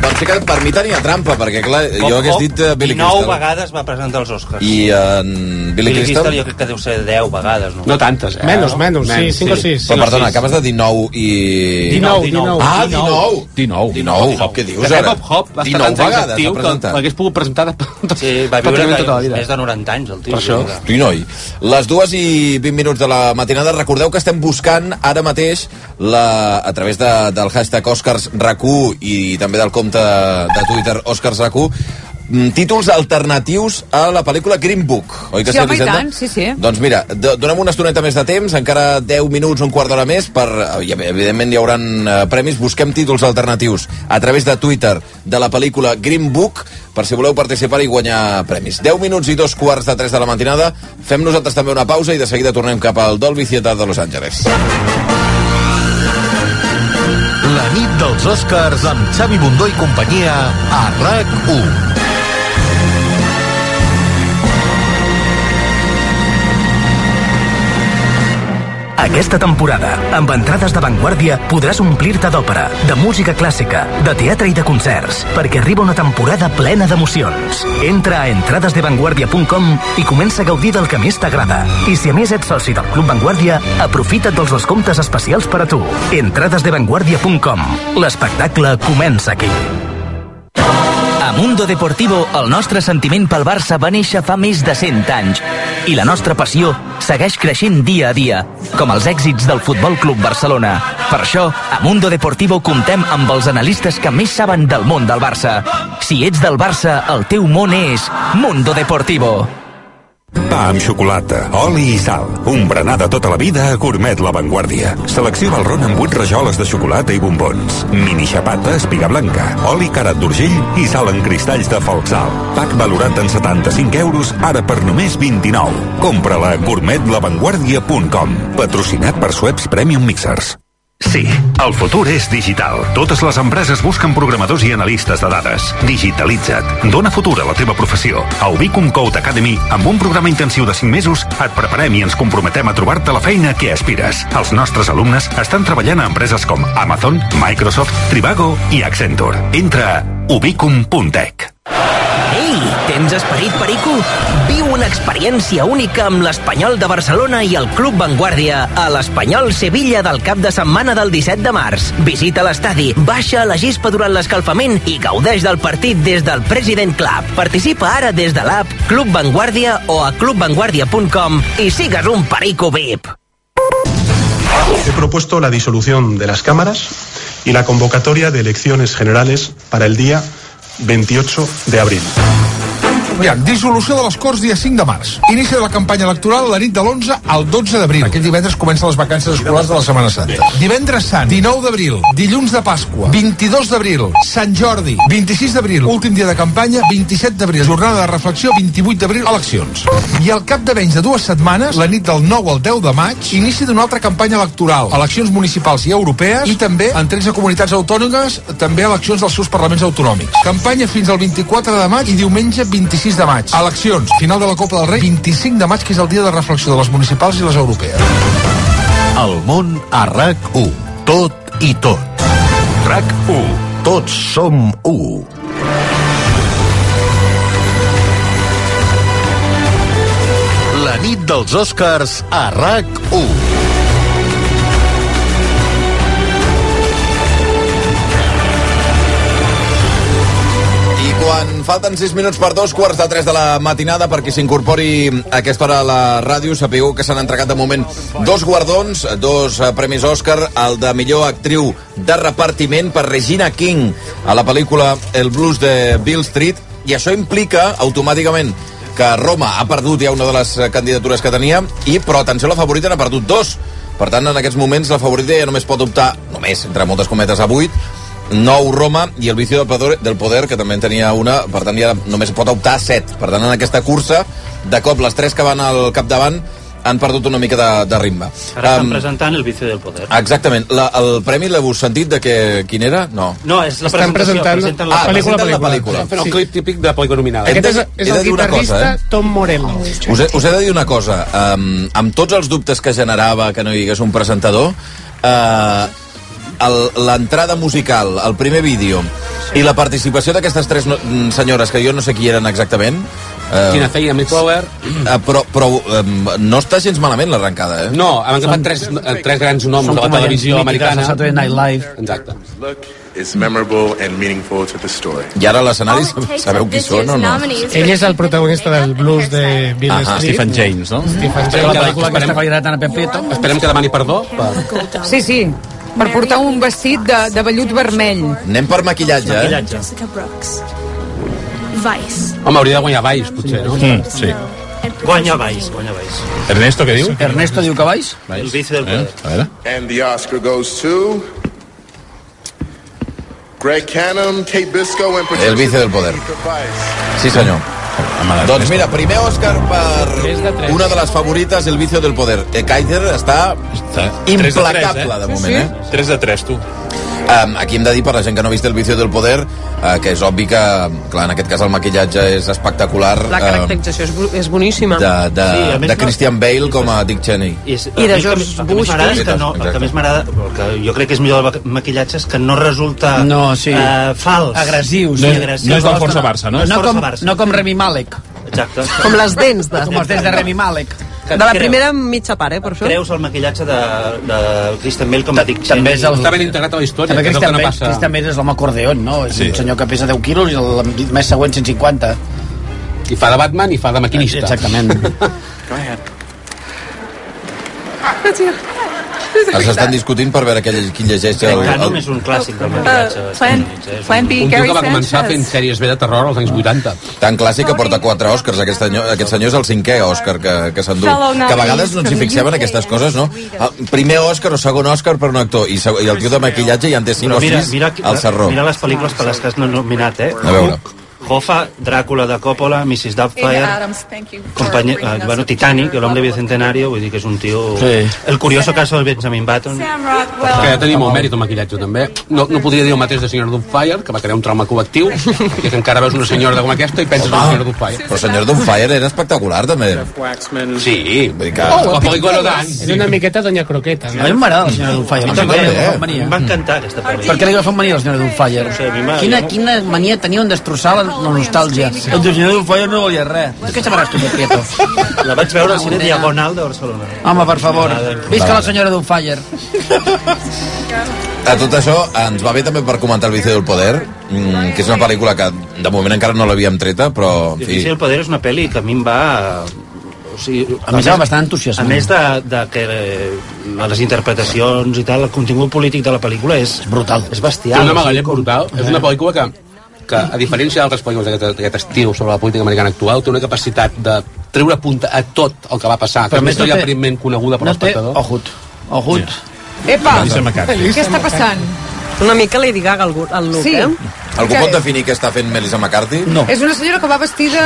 C: Doncs sí que per mi tenia trampa, perquè clar, jo hagués dit eh, Billy
F: Nou
C: Crystal.
F: Oh, vegades va presentar els Oscars.
C: I eh, en Billy Crystal?
F: jo crec que deu ser 10 vegades, no?
A: No tantes, eh?
C: Menys, menys, sí, cinc o sis. Però, perdona, acabes de dir nou i...
A: Dinou, dinou.
C: Ah, 19.
A: 19.
C: 19. Què dius,
A: Aquest
C: ara?
A: Bob Hope va
C: 19
A: estar tants anys
C: vegades
A: actiu
C: ha
A: que
C: presentat.
A: l'hagués pogut presentar de...
F: Sí, va viure
A: [LAUGHS] pràcticament tota la vida.
F: més de 90 anys, el tio.
A: Per això.
C: Hosti, noi. Les dues i 20 minuts de la matinada. Recordeu que estem buscant ara mateix la, a través de, del hashtag OscarsRAC1 i també del compte de Twitter OscarsRAC1 mm, títols alternatius a la pel·lícula Green Book. Oi que
E: Sí, home, i
C: Elisenda?
E: tant, sí, sí.
C: Doncs mira, do- donem una estoneta més de temps, encara 10 minuts, un quart d'hora més, per, eh, i evidentment hi haurà premis. Busquem títols alternatius a través de Twitter de la pel·lícula Green Book, per si voleu participar i guanyar premis. 10 minuts i dos quarts de 3 de la matinada. Fem nosaltres també una pausa i de seguida tornem cap al Dolby Theatre de Los Angeles.
S: La nit dels Oscars amb Xavi Bundó i companyia a RAC1.
T: Aquesta temporada, amb entrades d'avantguàrdia, podràs omplir-te d'òpera, de música clàssica, de teatre i de concerts, perquè arriba una temporada plena d'emocions. Entra a entradesdevanguardia.com i comença a gaudir del que més t'agrada. I si a més ets soci del Club Vanguardia, aprofita't dels descomptes especials per a tu. entradesdevanguardia.com. L'espectacle comença aquí.
U: A Mundo Deportivo, el nostre sentiment pel Barça va néixer fa més de 100 anys i la nostra passió segueix creixent dia a dia, com els èxits del Futbol Club Barcelona. Per això, a Mundo Deportivo comptem amb els analistes que més saben del món del Barça. Si ets del Barça, el teu món és Mundo Deportivo.
V: Pa amb xocolata, oli i sal. Un berenar de tota la vida a Gourmet La Vanguardia. Selecció Valron amb 8 rajoles de xocolata i bombons. Mini xapata, espiga blanca, oli carat d'urgell i sal en cristalls de folksal. Pac valorat en 75 euros, ara per només 29. Compra-la a gourmetlavanguardia.com. Patrocinat per Sueps Premium Mixers.
J: Sí, el futur és digital. Totes les empreses busquen programadors i analistes de dades. Digitalitza't. Dóna futur a la teva professió. A Ubicum Code Academy, amb un programa intensiu de 5 mesos, et preparem i ens comprometem a trobar-te la feina que aspires. Els nostres alumnes estan treballant a empreses com Amazon, Microsoft, Trivago i Accenture. Entra a ubicum.tech.
U: Ei, tens esperit, Perico? Viu una experiència única amb l'Espanyol de Barcelona i el Club Vanguardia a l'Espanyol Sevilla del cap de setmana del 17 de març. Visita l'estadi, baixa a la gespa durant l'escalfament i gaudeix del partit des del President Club. Participa ara des de l'app Club Vanguardia o a clubvanguardia.com i sigues un Perico VIP.
W: He propuesto la disolución de las cámaras y la convocatoria de elecciones generales para el día 28 de abril.
X: Aviam, dissolució de les Corts dia 5 de març. Inici de la campanya electoral la nit de l'11 al 12 d'abril. Aquest divendres comencen les vacances escolars de la Setmana Santa. Divendres Sant, 19 d'abril, dilluns de Pasqua, 22 d'abril, Sant Jordi, 26 d'abril, últim dia de campanya, 27 d'abril, jornada de reflexió, 28 d'abril, eleccions. I al cap de menys de dues setmanes, la nit del 9 al 10 de maig, inici d'una altra campanya electoral, eleccions municipals i europees i també en 13 comunitats autònomes, també eleccions dels seus parlaments autonòmics. Campanya fins al 24 de maig i diumenge 26 de maig. Eleccions, final de la Copa del Rei, 25 de maig, que és el dia de reflexió de les municipals i les europees.
S: El món a RAC1. Tot i tot. RAC1. Tots som u. La nit dels Oscars a RAC1.
C: I quan falten 6 minuts per dos quarts de 3 de la matinada perquè s'incorpori a aquesta hora a la ràdio, sapigueu que s'han entregat de moment dos guardons, dos eh, premis Òscar, el de millor actriu de repartiment per Regina King a la pel·lícula El blues de Bill Street, i això implica automàticament que Roma ha perdut ja una de les eh, candidatures que tenia, i però atenció, la favorita n'ha perdut dos. Per tant, en aquests moments la favorita ja només pot optar, només, entre moltes cometes, a 8, 9 Roma i el vicio del poder, del poder que també en tenia una, per tant ja només pot optar a 7 per tant en aquesta cursa de cop les 3 que van al capdavant han perdut una mica de, de ritme.
F: Ara estan
C: Em,
F: presentant el vicio del
C: Ah,
F: poder.
C: Exactament. La, el premi l'heu sentit de que... Quin era? No.
F: No, és la
C: Estan
F: presentació.
C: presentant-
F: presenten
C: Ah,
F: la
C: presenten la
F: pel·lícula.
C: pel·lícula.
A: Fent
C: Sí.
A: el clip típic de la pel·lícula nominada.
C: Aquest és- és He de el dir una cosa, guitarrista eh?
I: Tom Morello.
C: Us he, us he de dir una cosa. Um, amb tots els dubtes que generava que no hi hagués un presentador, uh, l'entrada musical, el primer vídeo i la participació d'aquestes tres no, mm, senyores, que jo no sé qui eren exactament...
B: Eh,
C: Uh,
A: Tina Fey i Amy Power.
C: Uh, però però um, no està gens malament l'arrencada, eh?
A: No, han agafat tres, eh, tres grans noms de la televisió americana.
B: Live.
A: Exacte.
O: It's memorable and meaningful to the story.
C: I ara a l'escenari
L: Oh,
C: sabeu qui són o no?
I: Ell és el protagonista del blues de Bill
C: Ah,
I: Street.
C: Stephen James,
A: no?
I: Stephen
A: Esperem que-
I: James. La pel·lícula
A: esperem-
I: aquesta qualitat tan a Pepito.
A: Esperem que demani perdó. Per...
E: Sí, sí, per portar un vestit de, de vellut vermell.
C: Anem per maquillatge, eh?
E: Jessica Brooks.
Y: Vice.
A: Home, hauria de guanyar Valls, potser, no?
D: Mm, sí.
F: Guanya Valls, guanya Valls.
D: Ernesto, què diu?
B: Ernesto diu que vais?
F: El vici
C: Eh?
F: del poder.
D: A veure.
O: And the Oscar goes to Greg Canham, Kate Biscoe, and
C: El vice del poder. Sí, senyor. Doncs mira, primer Òscar per una de les favorites, El vicio del poder. Eh, Kaiser està
D: Tres de tres,
C: implacable, de moment, eh?
D: 3 de 3, tu.
C: Um, aquí hem de dir, per la gent que no ha vist El vicio del poder, uh, que és obvi que, clar, en aquest cas el maquillatge és espectacular
I: La
C: um,
I: caracterització és, bu- és boníssima.
C: de, de,
F: Sí, a
C: sí,
F: més
C: de
F: no-
C: Christian Bale com a Dick Cheney.
F: I, és,
I: I de
F: a mi
I: George
F: el que- el que més
I: Bush,
F: m'agrada és que no, el
C: Exacte.
F: que més m'agrada, el que jo crec que és millor del maquillatge és que no resulta
B: No, sí.
F: eh, fals.
B: Agressiu, sí.
F: No, agressiu.
B: No, no, com, no com Remi Malek.
F: Exacte.
I: Com les dents de...
B: Com els dents de Remi Malek.
I: De la primera mitja part, eh, per això.
F: Creus el maquillatge de, de Christian Bale com a Dick Cheney.
B: també és el- Està ben
A: integrat a la història.
B: També Christian Bale, Christian Bale és l'home acordeon, no? És sí. un senyor que pesa 10 quilos i el mes següent 150.
A: I fa de Batman i fa de maquinista.
B: Exactament.
F: [LAUGHS]
C: Es estan discutint per veure qui, lle- qui llegeix el...
F: Canum
C: el...
F: és un clàssic del maquillatge.
A: Eh,
F: Plan,
A: un tio que va començar fent sèries B de terror als anys 80.
C: Tan clàssic que porta quatre Oscars. Aquest senyor, aquest senyor és el cinquè Oscar que, que s'endú.
A: Fellow
C: Que a vegades no ens hi
A: Nazis
C: fixem en aquestes coses, no? Ah, Primer Oscar o segon Oscar per un actor. I, seg- i el tio de maquillatge ja en té cinc o sis al Serró.
F: Mira les pel·lícules per les que has nominat, eh?
C: A veure.
F: Hoffa, Dràcula de Coppola, Mrs. Doubtfire, company, eh, bueno, Titanic, el hombre bicentenario, vull dir que és un tio...
A: Sí.
F: El curioso caso del Benjamin Button.
A: Que ja tenim molt mèrit el maquillatge, també. No, no podria dir el mateix de Senyor Doomfire, que va crear un trauma col·lectiu, que és que encara veus una senyora com aquesta i penses en Senyor Doomfire.
C: Però Senyor Doomfire era espectacular, també. Sí, vull dir que...
A: Oh, la pel·lícula no tant.
I: És una miqueta Doña Croqueta.
B: A mi m'agrada la senyora Dufalla.
F: A mi també, eh? Em va encantar aquesta pel·lícula.
B: Per què li agafem mania la senyora Dufalla? Quina, quina mania tenia en destrossar la, la nostàlgia. El senyor Dufalla no volia res. Tu Doncs què sabràs tu, Prieto?
F: La vaig veure al cine
B: Una-
F: Diagonal de Barcelona.
B: [LAUGHS] Home, per favor, visca la senyora Dufalla.
C: A tot això, ens va bé també per comentar El vicio del poder, mm, que és una pel·lícula que de moment encara no l'havíem treta, però, en
F: Sí.
C: fi...
F: El poder és una pel·li que a mi em va... O sigui,
B: A mi em va bastant
F: A
B: entusiasmant.
F: més de, de que eh, les interpretacions i tal, el contingut polític de la pel·lícula és... És
B: brutal.
F: És
A: Té
F: bestial.
A: una magallem brutal. És
B: Eh.
A: una pel·lícula que, que a diferència d'altres pel·lícules d'aquest, d'aquest estiu sobre la política americana actual, té una capacitat de treure punta a tot el que va passar, que és
B: Però
A: una
B: més no
A: història
B: té-
A: aparentment coneguda per
B: no té Oh.
A: l'espectador.
B: Ohut. Ohut.
E: Epa!
A: Melissa McCarthy.
E: Què està passant?
I: Una mica Lady Gaga al, gu- al look,
E: Sí.
I: eh?
C: Algú
E: Que-
C: pot definir què està fent Melissa McCarthy? No.
E: És una senyora que va vestida...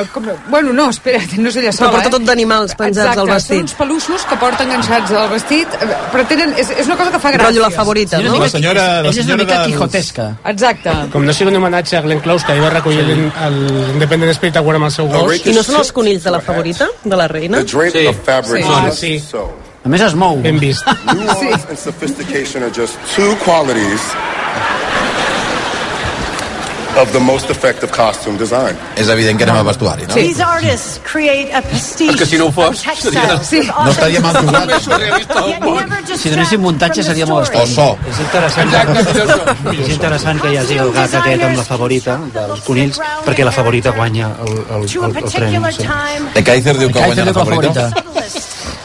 E: Uh, com... Bueno, no, espera, [LAUGHS] no és ella sola,
I: porta
E: eh?
I: tot d'animals penjats
E: Exacte,
I: al vestit.
E: són uns peluixos que porta enganxats al vestit, eh, però tenen... És, és una cosa que fa gràcia.
I: Rotllo la favorita, no? La senyora- la Ella és una senyora mica dels- quijotesca.
E: Exacte.
I: Com no sigui un homenatge a Glenn Close, que ahir va recollir sí. el Independent Spirit Award amb el seu ah,
O: gos.
I: I no són els conills de la favorita, de la reina?
O: The drape of fabric
I: Sí.
O: is
I: Ah,
O: just
I: sí.
O: so.
B: A més es mou.
I: Ben vist.
P: [LAUGHS]
O: Nuance and sophistication are just two qualities of the most effective costume design.
C: És evident que anem a vestuari, no?
P: These artists create a
C: És
P: prestige
C: que si no ho fos,
P: from
C: seria
P: textiles
C: de-
P: with
C: No estaria mal trobat,
P: authenticity.
C: això.
P: Yet
J: [LAUGHS]
P: never
B: Si donéssim muntatge seria
C: O
B: molt estrany.
C: so.
F: És interessant, que, és interessant que hi hagi el gat aquest amb la favorita dels conills, perquè la favorita guanya el, el,
P: to a
F: el, el premi.
P: particular
F: Sí.
P: time.
C: De Eh, Kaiser diu que
B: Kaiser
C: guanya
B: diu
C: la
B: que la
C: favorita.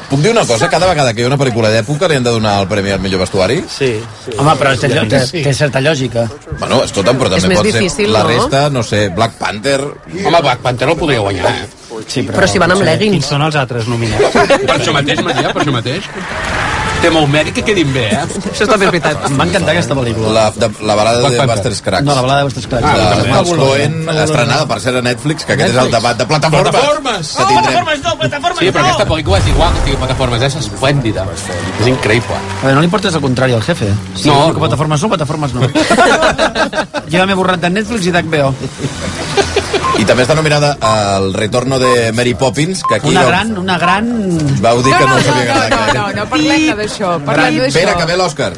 C: Puc dir una cosa? Cada vegada que hi ha una pel·lícula d'època li han de donar el premi al millor vestuari?
F: Sí. sí.
B: Home, però té, té, té certa lògica.
C: Bueno, escolta'm, però
B: És
C: també
B: més
C: pot ser
B: difícil,
C: la
B: no?
C: resta, no sé, Black Panther... Home,
A: Black Panther el podria guanyar. eh?
B: Sí,
F: Quins són els altres nominats? [LAUGHS]
A: Per això mateix, Maria, per això mateix. Té molt mèrit que quedin bé, eh?
B: Això també és veritat. Em va encantar aquesta pel·lícula.
C: La, de, la balada de Buster's Cracks.
B: No, la balada de Buster's Cracks.
C: Ah, de
B: també.
C: Miles Cohen, estrenada per ser a Netflix, que aquest és el
A: Netflix.
C: debat de plataformes.
A: Plataformes!
C: Que tindrem.
A: no, plataformes sí, però aquesta pel·lícula és igual que estigui a plataformes, és esplèndida. És increïble.
B: A veure, no li portes el contrari al jefe. Si
A: No,
B: no,
A: no.
B: que plataformes no, plataformes [LAUGHS] no. jo ja m'he borrat de Netflix i d'HBO.
C: I també està nominada al retorno de Mary Poppins, que aquí
B: Una
C: vau-
B: gran, una gran...
C: vau dir que no, us havia
E: no,
C: agradat.
E: no, no, no parlem d'això. Parlem d'això.
C: Espera, que ve l'Òscar.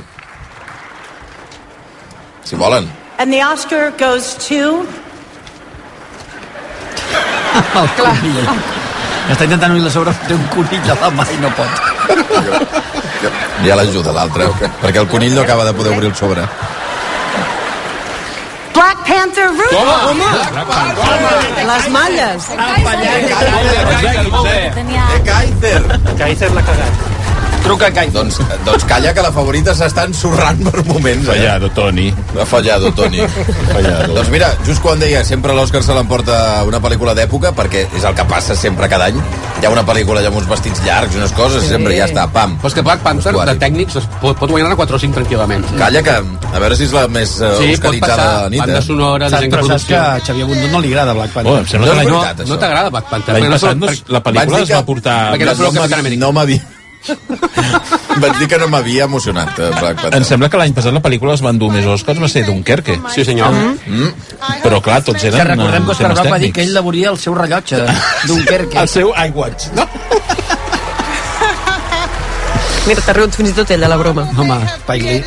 C: Si volen.
P: And the Oscar goes to...
B: Clar. Està intentant unir la sobre, té un conill a la mà i no pot.
C: Ja l'ajuda l'altre, perquè el conill no acaba de poder obrir el sobre.
P: Black Panther Root.
C: Toma,
Q: Les malles.
C: Kaiser! Kaiser l'ha cagat. Truca Kaiser. Doncs, doncs calla, que la favorita s'està ensorrant per moments. Eh? Fallado, Toni. Ha fallado, Toni. Fallado. Doncs mira, just quan deia sempre l'Òscar se l'emporta una pel·lícula d'època, perquè és el que passa sempre cada any. Hi ha una pel·lícula, hi ha uns vestits llargs, unes coses,
A: Sí.
C: sempre ja està, pam.
A: Però és que Black Panther, de tècnics, es pot, pot guanyar 4 o 5 tranquil·lament.
C: Calla, que a veure si és la més eh,
A: Sí, pot
C: oscaritzada
A: passar.
C: de la nit. eh?
A: Banda sonora,
B: Saps,
A: disseny de
B: però saps que
A: producció.
B: a Xavier Bundó no li agrada Black Panther.
D: Oh, em sembla que
A: no,
D: l'any-
A: no t'agrada Black Panther.
D: L'any
A: perquè
D: passat
A: no,
D: no
A: és-
D: es- la pel·lícula
A: Vaig dir
D: es va portar-
A: Perquè no, és el Capitán América.
C: no m'havia... Vaig dir que no m'havia emocionat. eh, Black Panther.
D: Em sembla que l'any passat la pel·lícula es van dur més Oscars, va ser Dunkerque.
A: Sí, senyor.
D: Mm. Però clar, tots
B: Que
D: eren
B: recordem que
D: eh,
B: Oscar
D: temes
B: Brock va dir
D: tècnics.
B: que ell devoria el seu rellotge d'Unkerque.
D: El seu iWatch. No?
Q: Mira, t'ha riut fins i tot ell de la broma.
B: Home, Spike Lee.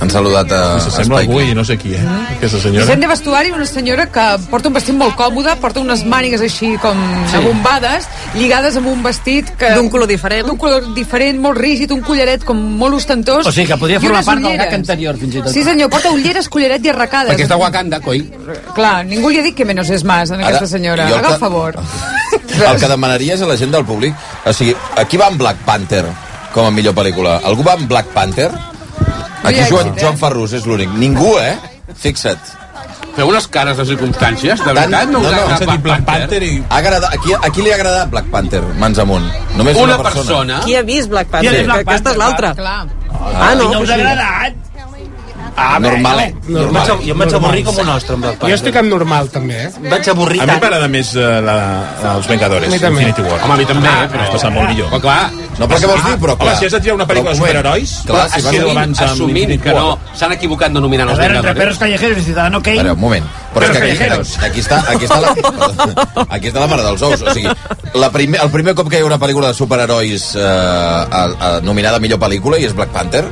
C: Han saludat a...
D: S'assembla algú i no sé qui, eh? Aquesta senyora.
E: Gent de vestuari, una senyora que porta un vestit molt còmode, porta unes mànigues així com
D: Sí.
E: abombades, lligades amb un vestit que... D'un color diferent. D'un color diferent, molt rígid, un collaret com molt ostentós.
B: O sigui que podria
E: i
B: formar
E: unes
B: part del
E: ulleres.
B: gag anterior, fins i tot.
E: Sí, senyor, porta ulleres, collaret i arracades.
A: Perquè és de Wakanda, coi.
E: Clar, ningú li ha dit que menos és más en
C: Ara,
E: aquesta senyora.
C: jo el
E: Haga
C: que-
E: el favor.
C: [LAUGHS] El que demanaria és a la gent del públic. O sigui, aquí va amb Black Panther com a millor pel·lícula. Algú va amb Black Panther? Aquí
A: Ja
C: Joan,
A: existe.
C: Joan Ferrus és l'únic. Ningú, eh? Fixa't.
A: Feu unes cares de circumstàncies, de veritat, no, us agrada Black Panther?
C: i... Ha agradat, aquí, aquí li ha agradat Black Panther, mans amunt. Només una,
A: Una persona.
Q: Qui ha vist Black Panther?
C: Qui ha vist Black
Q: Que aquesta és l'altra.
C: Ah,
Q: no.
C: no us ha agradat?
Q: Ah, bé,
C: normal,
Q: no.
C: eh?
Q: Jo em vaig-
C: Normal.
Q: jo em vaig avorrir com un
D: ostre amb Black
I: Jo estic amb normal, també, eh?
D: Vaig avorrir A mi m'agrada més eh, la, la, els Vengadores,
I: A mi també.
D: Infinity War.
I: Home, a mi també, eh,
D: però... Es passa molt millor. Però
A: clar...
D: No, però què vols dir? Però clar... Home, si has de triar una pel·lícula de superherois... es queda
A: assumint,
D: abans amb
A: assumint
D: Infinity
A: que no
D: War.
A: s'han equivocat de nominar
B: A
A: els
B: veure, entre
A: Vengadores.
B: perros callejeros i Ciudadano Kane...
C: Però, un moment. Però és que
B: callejeros.
C: aquí, aquí, està, aquí, està la, aquí està la mare dels ous. O sigui, la primer, el primer cop que hi ha una pel·lícula de superherois eh, a, a, nominada a millor pel·lícula i és Black Panther,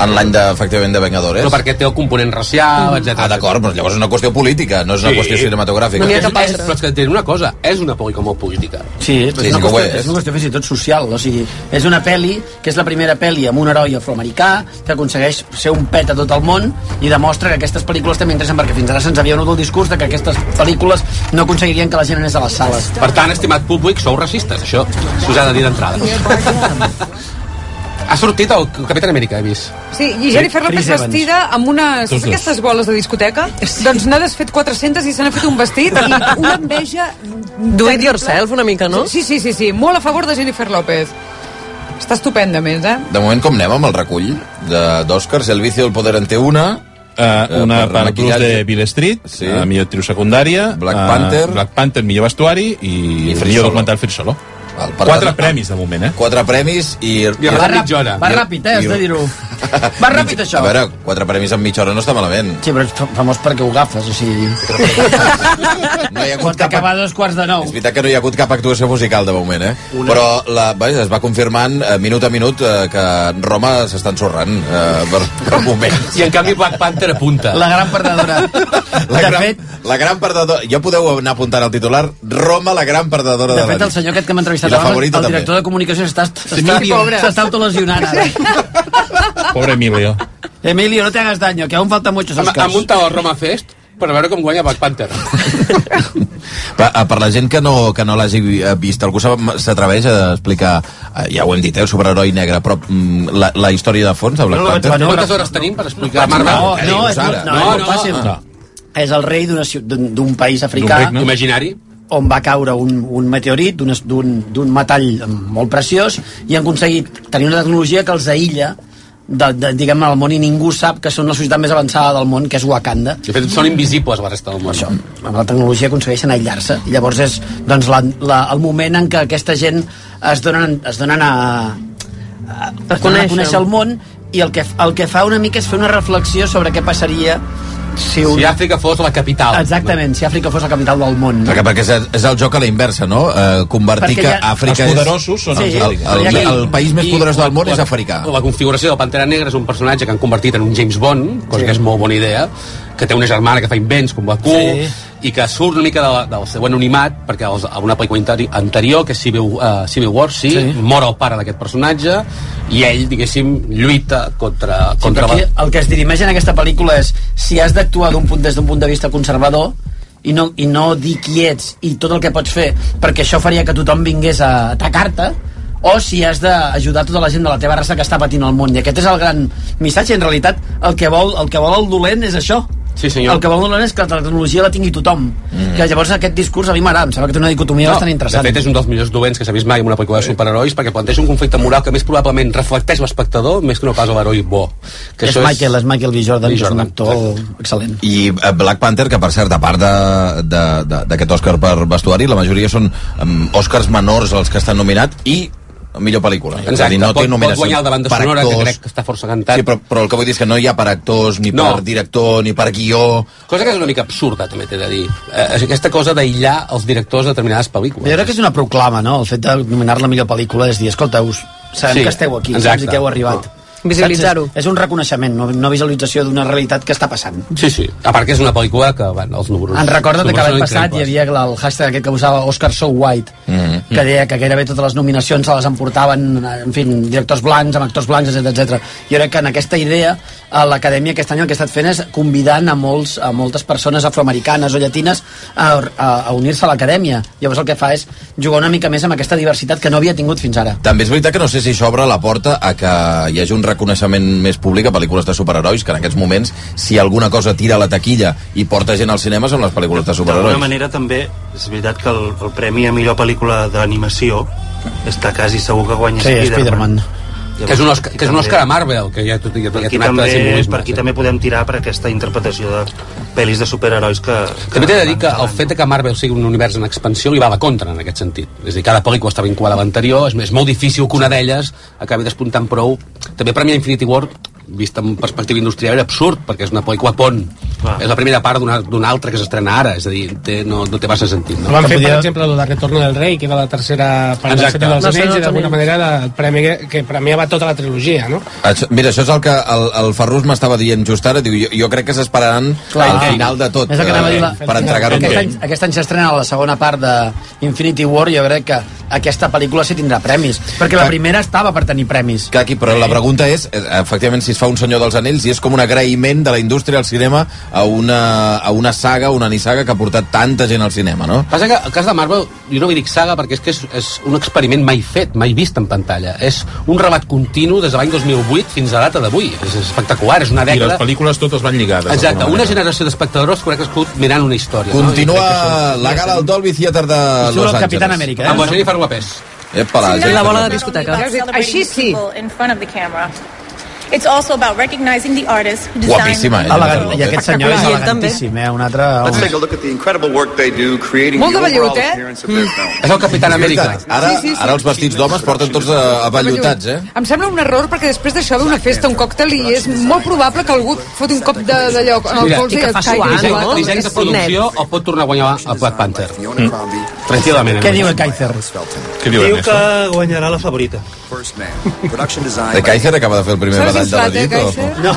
C: en l'any, de, efectivament, de Vengadores.
A: Però perquè té el component
B: Mm.
A: racial, etc.
C: Ah, d'acord, però llavors és una qüestió política, no és una qüestió cinematogràfica.
A: No, és, és, però és que et diré una cosa, és una pel·lícula molt política.
B: Sí, però és, una qüestió, és. una qüestió fins i tot social. O sigui, és una pel·li que és la primera pel·li amb un heroi afroamericà que aconsegueix ser un pet a tot el món i demostra que aquestes pel·lícules també interessen perquè fins ara se'ns havia anut el discurs de que aquestes pel·lícules no aconseguirien que la gent anés a les sales.
A: Per tant, estimat públic, sou racistes, això s'us ha de dir d'entrada.
B: [LAUGHS]
A: ha sortit el Capitán Amèrica, he vist.
E: Sí, i Jennifer
A: Sí,
E: Lopez
A: Chris Evans.
E: vestida amb unes...
A: Tots
E: Saps
A: dos.
E: aquestes boles de discoteca? Doncs n'ha desfet 400 i se n'ha fet un vestit
A: [LAUGHS]
E: i una enveja...
Q: Do it yourself una mica, no?
E: Sí, sí, sí, sí. Molt a favor de Jennifer López. Està estupenda, a més, eh?
C: De moment, com anem amb el recull de- d'Òscars? El vicio del poder en té una...
D: Uh, una
C: Eh, per
D: per, per Bruce
C: maquillatge.
D: de Bill Street, sí. uh, millor actriu secundària, Black
C: Panther.
D: Black Panther, millor vestuari i, I millor
C: Free Solo.
D: documental Free Solo.
C: El,
D: Quatre premis, de moment, eh?
C: Quatre premis i... I
B: va, rap, va ràpid, eh, has de dir-ho.
C: [LAUGHS]
B: Va ràpid,
C: A
B: això.
C: veure, quatre premis en mitja hora no està malament.
B: Sí, però és famós perquè ho agafes, o sigui...
C: No hi ha
B: Pot acabar a dos quarts de nou.
C: És veritat que no hi ha hagut cap actuació musical de moment, eh? Una... Però la, vaja, es va confirmant eh, minut a minut eh, que Roma s'està ensorrant eh, per, per moments.
A: I en canvi Black Panther apunta.
B: La gran perdedora.
C: La gran, fet... la gran perdedora... Ja podeu anar apuntant al titular Roma, la gran perdedora de,
B: De fet,
C: la
B: el senyor aquest que m'ha entrevistat
C: I la
B: abans, el
C: favorita
B: director
C: també.
B: de comunicació, s'està
C: Sí,
B: s'està
C: pobre.
B: s'està autolesionant ara.
D: Pobre Emilio.
B: Emilio, no te hagas daño, que aún falta muchos
A: Hem,
B: Oscars.
A: hem muntat el Roma Fest per veure com guanya Black Panther.
C: Per, eh, per la gent que no, que no l'hagi eh, vist, algú s'ha- s'atreveix a explicar, eh, ja ho hem dit, eh, el superheroi negre, però mm, la, la història de fons de Black Panther?
A: Quantes hores tenim per explicar
C: No,
A: Marvel?
C: no,
A: Què
B: No,
A: dius
B: és
A: ara?
B: molt, no, és molt fàcil.
A: Ah.
B: És el rei d'una ciu- d'un d'un país africà.
A: D'un regne. Imaginari.
B: on va caure un, un meteorit d'un es- d'un d'un metall molt preciós i han aconseguit tenir una tecnologia que els aïlla de, de, diguem, al món i ningú sap que són la societat més avançada del món, que és Wakanda.
A: De fet, són invisibles la resta del món. Això.
B: amb la tecnologia aconsegueixen aïllar-se i llavors és doncs, la, la, el moment en què aquesta gent es donen, es donen a, a, a,
Q: conèixer.
B: a conèixer el món i el que, el que fa una mica és fer una reflexió sobre què passaria si, un...
A: Si Àfrica fos la capital.
B: Exactament, si Àfrica fos la capital del món. No?
C: Perquè, perquè és, és el joc a la inversa, no? Eh, convertir
B: Perquè
C: que
B: ja-
C: Àfrica
A: Els
C: és...
A: poderosos són els
C: el, el,
A: àfrics.
C: el, el, país més
A: I
C: poderós del món
A: la-
C: és africà.
A: La configuració de Pantera Negra és un personatge que han convertit en un James Bond, cosa sí. que és molt bona idea, que té una germana que fa invents com Bakú, sí. i que surt una mica de la, del seu anonimat, perquè els, a una pel·lícula anteri- anterior, que és Civil, uh, Civil War, sí, sí, mor el pare d'aquest personatge, i ell, diguéssim, lluita contra...
B: Sí, però
A: contra
B: aquí el que es dirimeix en aquesta pel·lícula és si has d'actuar d'un punt des d'un punt de vista conservador i no, i no dir qui ets i tot el que pots fer perquè això faria que tothom vingués a atacar-te o si has d'ajudar tota la gent de la teva raça que està patint el món i aquest és el gran missatge en realitat el que vol el, que vol el dolent és això
A: Sí, senyor.
B: el que vol el dolent és que la tecnologia la tingui tothom mm. que llavors aquest discurs a mi m'agrada em sembla que té una dicotomia no, bastant interessant
A: De fet, és un dels millors dolents que s'ha vist mai en una pel·lícula de superherois perquè planteja un conflicte moral que més probablement reflecteix l'espectador més que no pas l'heroi bo. Que
B: és,
A: això
B: Michael, és Michael B.
A: B.
B: Jordan, que és un
A: Jordan,
B: actor excel·lent
C: I eh, Black Panther, que per cert, a part de- de- de- d'aquest Òscar per vestuari, la majoria són um, Òscars menors els que estan nominat i millor pel·lícula. És a
A: Exacte,
C: dir, no
A: pot,
C: té
A: pot
C: nominacions
A: guanyar el de banda
C: per
A: sonora, que
C: actors.
A: crec que està força cantat.
C: Sí, però, però el que vull dir és que no hi ha per actors, ni
A: No.
C: per director, ni per guió...
A: Cosa que és una mica absurda, també t'he de dir. Eh, és aquesta cosa d'aïllar els directors de determinades pel·lícules.
B: Jo crec que és una proclama, no? El fet de nominar la millor pel·lícula és dir, escolta, us sabem
A: Sí,
B: sí, que esteu aquí,
A: exacte.
B: saps i que heu arribat.
A: Visibilitzar-ho.
B: Saps? És, és un reconeixement, no, no visualització d'una realitat que està passant.
A: Sí, sí. A part que és una pel·lícula que, bueno, els números...
B: En recordo que
A: números
B: l'any
A: són
B: passat hi
A: increïbles.
B: havia la- el hashtag aquest que usava Oscar So White,
A: Mhm.
B: que deia que gairebé totes les nominacions se les emportaven, en fi, directors blancs, amb actors blancs, etc etc. Jo crec que en aquesta idea, a l'Acadèmia aquest any el que ha estat fent és convidant a, molts, a moltes persones afroamericanes o llatines a, a, a unir-se a l'Acadèmia. Llavors el que fa és jugar una mica més amb aquesta diversitat que no havia tingut fins ara.
C: També és veritat que no sé si això obre la porta a que hi hagi un reconeixement més públic a pel·lícules de superherois, que en aquests moments, si alguna cosa tira a la taquilla i porta gent als cinemes, són les pel·lícules de
F: D'alguna
C: superherois.
F: manera també és veritat que el, el premi a millor pel·lícula d'animació està quasi segur que guanya
A: Que és un Oscar, que és un Oscar a Marvel, que ja, ja, ja, ja
F: Per
A: té
F: aquí,
A: un acte
F: també,
A: de simbolisme.
F: per aquí també podem tirar per aquesta interpretació de pel·lis de superherois que... que
A: També t'he de dir que el fet de que Marvel sigui un univers en expansió li va a la contra, en aquest sentit. És a dir, cada pel·lícula està vinculada a l'anterior, és, és molt difícil que una d'elles acabi despuntant prou. També Premia Infinity War, vista en perspectiva industrial, era absurd, perquè és una pel·lícula pont. Ah. És la primera part d'una d'una altra que s'estrena ara, és a dir, té, no, no té massa sentit. No?
I: No, van fer, per exemple, el de Retorno del Rei, que era la tercera part de la
A: Exacte.
I: sèrie dels
A: La sèrie
I: Anells, i
A: dels
I: d'alguna
A: Anells.
I: manera la- el premi que, que premiava tota la trilogia, no?
C: Això, mira, això és el que el, el Ferrus m'estava dient just ara. Diu, jo, jo crec que s'esperaran
B: Clar,
C: al
B: sí.
C: final de tot eh,
B: És el que anava a dir la...
C: per entregar-ho
B: aquest, any,
C: tot.
B: aquest any s'estrena la segona part de Infinity War i jo crec que aquesta pel·lícula sí tindrà premis perquè la
C: Que-
B: primera estava per tenir premis
C: Que aquí, però la pregunta és, eh, efectivament, si es fa un senyor dels anells i és com un agraïment de la indústria al cinema a una, a una saga, una nissaga que ha portat tanta gent al cinema, no?
A: Passa que el cas de Marvel, jo no li dic saga perquè és que és, és un experiment mai fet, mai vist en pantalla. És un rebat continu des de l'any 2008 fins a data d'avui. És espectacular, és una
D: I
A: dècada...
D: les pel·lícules totes van lligades.
A: Exacte,
D: d'alguna
A: una
D: manera.
A: generació d'espectadors que ha crescut mirant una història.
C: Continua la gala al Dolby Theatre de
A: I surt el
C: Los Angeles.
A: Capitán Amèrica, eh? Amb la Jennifer Lopez.
C: Epa, la,
Q: Sí, la bola de
E: Ja us he dit, Així sí.
Y: It's also about recognizing the artists who designed
C: Guapíssima, ella.
B: Elegant, I aquest senyor és
Y: I ell també.
B: elegantíssim, eh? Un altre...
G: Let's
B: home.
G: take a look at the incredible work they do creating
B: Molt
G: the
B: de vellut,
G: overall
B: eh?
G: appearance
P: Hmm.
E: Mm.
G: of their film.
C: És el Capitán Amèrica. Ara,
E: Sí, sí, sí.
C: ara els vestits d'homes porten tots eh, avellutats, eh?
E: Em sembla un error perquè després d'això d'una festa, un còctel, i és molt probable que algú et foti un cop de- d'allò en el colze i et caigui.
A: disseny, disseny de producció el pot tornar a guanyar a Black Panther. Mm. Tranquil·lament.
B: Què diu el Kaiser?
A: Què diu
F: Diu
A: Ernesto?
F: que guanyarà la favorita.
C: De Kaiser acaba de fer el primer badall de la nit, o...
F: No.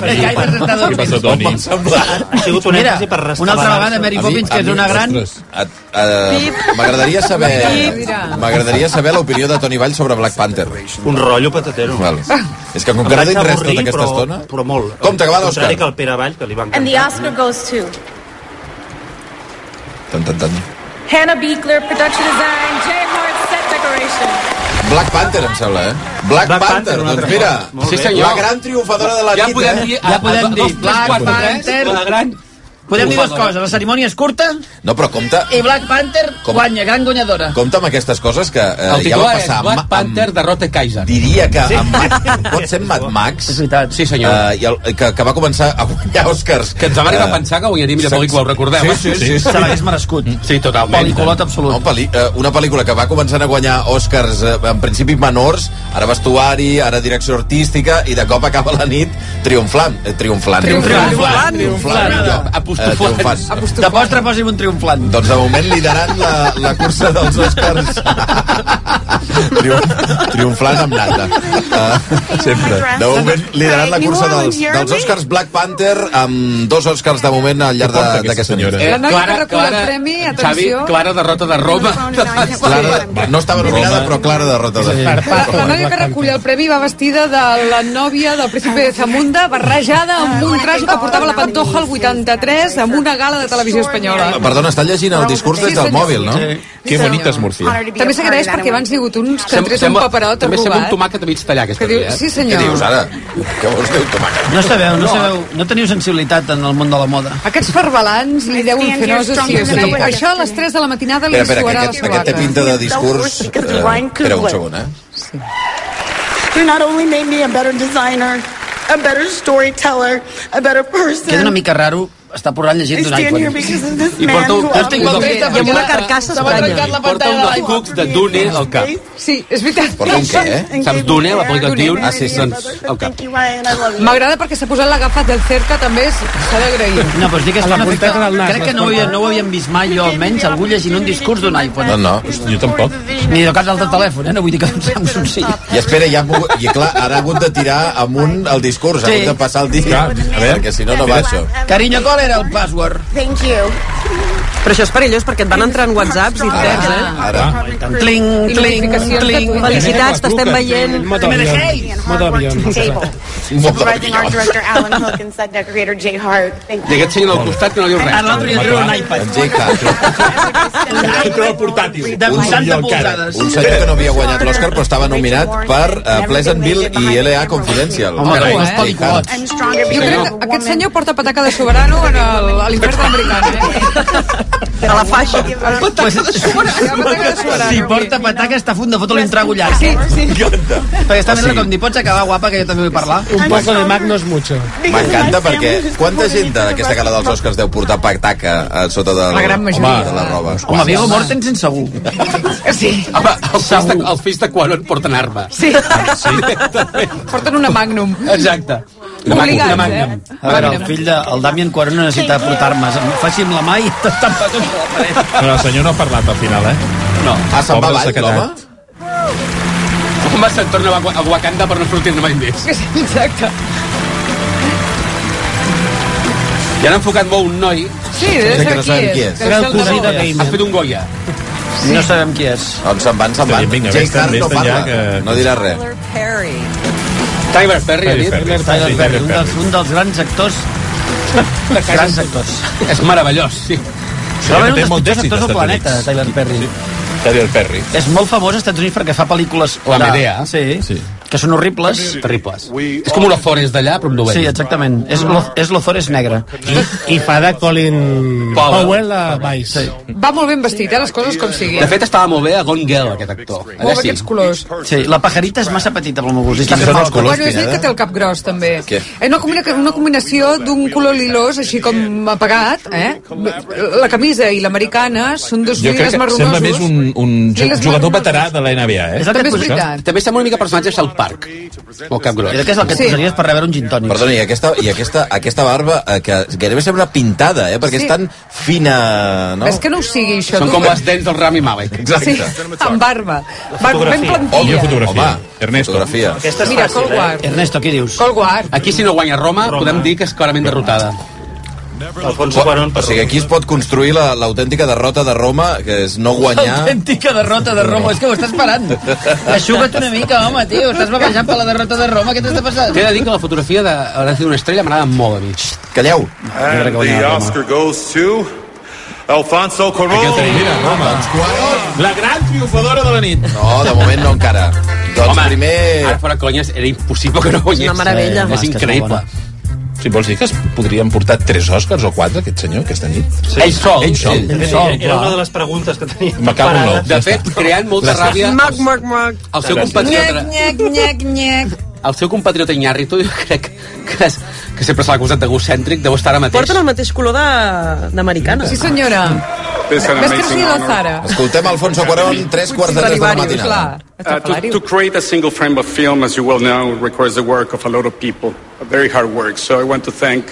D: Què passa, Toni?
F: Ha sigut un
B: Mira,
F: èmfasi per restar
B: una altra
F: balança.
B: vegada Mary Poppins, que és una gran...
C: A- a- eh, M'agradaria saber... M'agradaria saber l'opinió de Toni Vall sobre Black Panther.
F: Un rotllo patatero.
C: Val. És que com que no
F: Em
C: dic
F: vaig
C: res
F: avorrir,
C: tota aquesta
F: però-
C: estona...
F: Però molt.
C: Compte, que va
F: Al
C: l'Òscar.
F: contrari que el Pere Vall, que li va
Y: And the
F: encantar.
Y: Oscar goes to
C: Tan, tan, tan.
Y: Hannah Beekler, production design, Jay Hart, set decoration.
C: Black Panther, em sembla, eh? Black, Black Panther, doncs mira,
A: Sí, senyor.
C: la gran triomfadora de la
A: ja
C: nit,
A: podem
C: eh?
A: dir, a- a- a- dos, tres, quatre, tres, La gran
B: Podem dir dues coses. La cerimònia és curta
C: No, però compte,
B: i Black Panther
C: Com?
B: guanya, gran guanyadora.
C: compte amb aquestes coses que eh,
A: El
C: ja
A: titular
C: va
A: és
C: passar amb-
A: Black Panther derrota Kaiser.
C: Diria que sí. amb Mad, pot ser Mad Max. És
B: veritat.
C: Sí, senyor. Uh, i el, que, que va començar a guanyar Oscars. Eh,
A: Que ens vam arribar a pensar que guanyaria millor pel·lícula, ho recordem,
C: Sí, sí,
A: eh?
C: sí.
A: Se l'hagués
B: merescut.
C: Sí, totalment.
A: Peliculot
B: absolut.
C: No, peli, eh, una pel·lícula que va començant a guanyar Oscars eh, en principi menors, ara vestuari, ara direcció artística, i de cop acaba la nit triomflant. Eh, triomflant.
B: Triomfant.
C: Triomfant.
B: Triomfant.
C: Eh, triomfant.
B: Apostofant. De postre posi'm un triomfant.
C: Doncs de moment liderant la, la cursa dels Oscars. Triomf, triomflant amb nata. Uh, sempre. De moment liderant la cursa dels, dels Oscars Black Panther amb dos Oscars de moment al llarg de- d'aquesta nit.
A: Eh,
E: La noia que recull el premi,
A: Xavi,
E: atenció...
A: clara derrota de Roma. [LAUGHS]
C: Clara, no estava nominada, però clara derrota.
E: La, la noia que recull el premi va vestida de la nòvia del príncipe de Zamunda, barrejada amb un traje que portava la Pantoja al 83 amb una gala de televisió espanyola.
C: Perdona, està llegint el discurs des del mòbil, no?
E: Que bonita
C: és Murcia.
E: També s'agraeix perquè abans hi ha hagut uns que
A: Sem-
E: entrés un paperot
A: també sembla un
E: arrugat.
A: tomàquet mig tallat, aquesta
E: Que diu,
A: dia, eh?
E: sí, senyor. Què dius,
C: ara? Què vols dir, tomàquet?
B: No sabeu, no sabeu, no teniu sensibilitat en el món de la moda.
E: Aquests farbalans li deuen fer nosa, sí o sí. Això a les 3 de la matinada li
C: Espera, espera, que
E: suarà la
C: aquest, aquest té pinta de discurs... Eh, espera un segon, eh?
P: You not only made me a better designer, a better storyteller, a better person.
B: Queda una mica raro estar portant llegint d'un
P: I stand
B: iPhone.
P: here because of this
B: I
P: man
B: porta un-
P: who
B: jo estic
P: always
B: contenta
P: made-
B: perquè I amb una carcassa
P: se m'ha
B: Espanya.
P: trencat la
A: Porta
P: pantalla
A: un
P: de
A: dels cucs de Dune al cap.
E: Sí, és veritat.
A: Porta un què, eh? Saps Dune, la pel·lícula Dune? Ah, sí, sí. Doncs, al cap.
E: M'agrada perquè s'ha posat l'agafat del cerca, també és- s'ha d'agrair.
B: No, però estic que es
E: A
B: fa
E: la
B: un efecte...
E: punta del nas,
B: Crec que no ho, havia, no ho havíem vist mai, jo almenys, algú llegint un discurs d'un iPhone.
C: No, no. Jo tampoc.
B: Ni de cap d'altre telèfon, eh? No vull dir que un Samsung sí.
C: I espera, ja ha mogut, i clar, ara ha hagut de tirar amunt el discurs, ha
B: Sí.
C: hagut de passar el dia, perquè si no, no va això.
B: Carinyo, qual era el password?
Q: Thank you. Però això és perillós perquè et van entrar en whatsapps i
C: Ah,
Q: et perds, eh?
C: Ara.
Q: Tling,
E: tling, tling.
Q: Felicitats, t'estem veient.
I: Modo avión.
P: Supervising art director Alan Hook and set decorator Jay Hart. Thank
A: I aquest senyor del costat que no diu res.
P: A l'altre li treu un
B: iPad.
C: Sí, clar.
P: [LAUGHS]
B: Entra el portàtil. De 80 polsades.
C: Un senyor que no havia guanyat l'Oscar, però estava nominat per eh, Pleasantville i L.A. Confidential.
B: Home,
C: Carai,
B: tu, eh?
C: Jake Hart.
E: Jo crec que aquest senyor porta pataca de soberano en el- a l'infern eh? americà.
Q: A la faixa.
B: Pataca de soberano. Si porta pataca està a punt de fotre-li un trago llarg.
E: Sí, sí.
B: Perquè està mirant com dir, pots acabar guapa, que jo també vull parlar.
I: Un poco de Mac no es mucho.
C: M'encanta perquè quanta gent d'aquesta gala dels Oscars deu portar pataca a sota del,
B: La gran majoria.
C: de la roba?
B: Home, Viggo Mortensen segur.
E: Sí.
A: Home, els fills, de, els fills de Quaron porten arma. [LAUGHS]
E: Sí. Porten una Magnum.
A: Exacte.
E: Obligats, eh?
B: A veure, el fill de... El Damien Cuarón no necessita portar-me. Faci'm la mà i [LAUGHS] t'estampa contra la paret.
D: Però el senyor no ha parlat al final, eh?
A: No.
C: Ah, se'n va avall, l'home?
A: Home, se'n torna a Wa- a Wakanda per no sortir-ne mai més.
E: Exacte.
A: I han enfocat molt un noi...
E: Sí, deu ser qui és. Deu ser el Era el cosí de Goya. Damon.
A: Ha fet un Goya.
B: No sabem qui és.
C: Doncs se'n van, se'n van.
A: Vinga,
C: Jake
A: vés-te'n,
C: Hart no
A: vés-te'n
C: parla,
A: ja, que-
C: no dirà res.
Q: Perry.
A: Tyler Perry, ha dit?
B: Tyler Perry, un dels, un dels grans actors. grans actors.
A: És meravellós, sí.
B: Probablement un dels pitjors actors del planeta, Tyler Perry.
D: Tyler Perry.
B: És molt famós als Estats Units perquè fa pel·lícules...
A: La
B: de-
A: Medea.
B: Sí, que són horribles. Terribles.
A: És com una Forest d'allà, però amb
B: Sí,
A: novell.
B: exactament. És, lo, és l'Ozores negre.
I: I fa de Colin
A: Powell.
I: Powell a Vice.
E: Va molt ben vestit, eh, les coses com siguin.
A: De fet, estava molt bé a Gone Girl, aquest actor.
E: Molt
A: Allà
E: bé
A: sí.
E: aquests colors.
B: Sí, la pajarita és massa petita pel meu gust. Està fent mal.
E: bueno, és ell que té el cap gros, també.
B: eh? Què?
E: És una, combina una combinació d'un color lilós, així com apagat, eh? La camisa i l'americana són dos
D: Jo crec
E: llibres
D: que sembla més un,
E: marronosos.
D: un ju-
E: Lligues
D: jugador
E: marronosos.
D: veterà de la NBA, eh?
A: També,
E: és veritat.
A: També sembla una mica personatge de South Park.
C: Molt cap gros.
B: Crec que és el que et posaries per rebre un gin tònic.
C: Perdona, i aquesta, i aquesta, aquesta barba eh, que gairebé sembla pintada, eh? Perquè
E: Sí.
C: és tan fina, no?
E: És que no ho sigui, això.
C: Són
E: tu.
C: com
A: Les dents del Rami Malek.
C: Exacte.
E: Sí, amb barba. Barba ben
C: Home,
E: plantilla.
C: fotografia. Ernesto. Fotografia.
E: Aquesta és Mira, fàcil, Cold eh? War.
B: Ernesto, què dius?
E: Colguard.
A: Aquí, si no guanya Roma, podem dir que és clarament derrotada.
D: Oh,
C: Alfonso Cuarón. O sigui, aquí es pot construir la- l'autèntica la, derrota de Roma, que és no guanyar...
B: Autèntica derrota de Roma, és que ho estàs parant. Aixuga't una mica, home, tio, estàs babejant per la derrota de Roma, què t'està passant?
A: T'he de dir que la fotografia de Horacio d'una estrella m'agrada molt a mi.
C: Calleu.
A: crec
O: And
A: que
O: the
A: guanyarà Roma.
O: Oscar goes to Alfonso Cuarón.
D: La gran triomfadora de la nit. ah,
C: No, de moment no encara. Doncs
A: Home,
C: primer...
A: Ara fora conyes, era impossible que no guanyés.
C: És una meravella. Home, és
A: És
C: que és molt
A: increïble.
D: si vols dir que es podrien portar 3 Oscars o 4 aquest senyor aquesta nit
F: Sí. Ell sol.
D: ell sol,
F: Ell
B: Oh,
F: sol, Era una de les preguntes que tenia.
D: Me cago en l'ou.
F: preparades.
D: De fet,
A: creant molta
D: Gràcies.
A: ràbia
Q: Mac, mac, mac.
A: El seu compatriota-
Q: Nyec, nyec, nyec, nyec.
A: el seu compatriota Iñárritu jo crec que, és, que sempre se l'ha acusat d'egocèntric deu estar ara mateix
Q: Porten el mateix color de- d'americana.
E: Sí, senyora.
A: This an
E: Ves que
A: amazing
E: sí, la
A: honor.
E: Sara.
C: Escoltem Alfonso Cuarón, 3 quarts de 3 de la
E: Stradivarius,
C: matinada.
E: clar.
G: Uh, to, to create a single frame of film, as you well know, requires the work of a lot of people, a very hard work. So I want to thank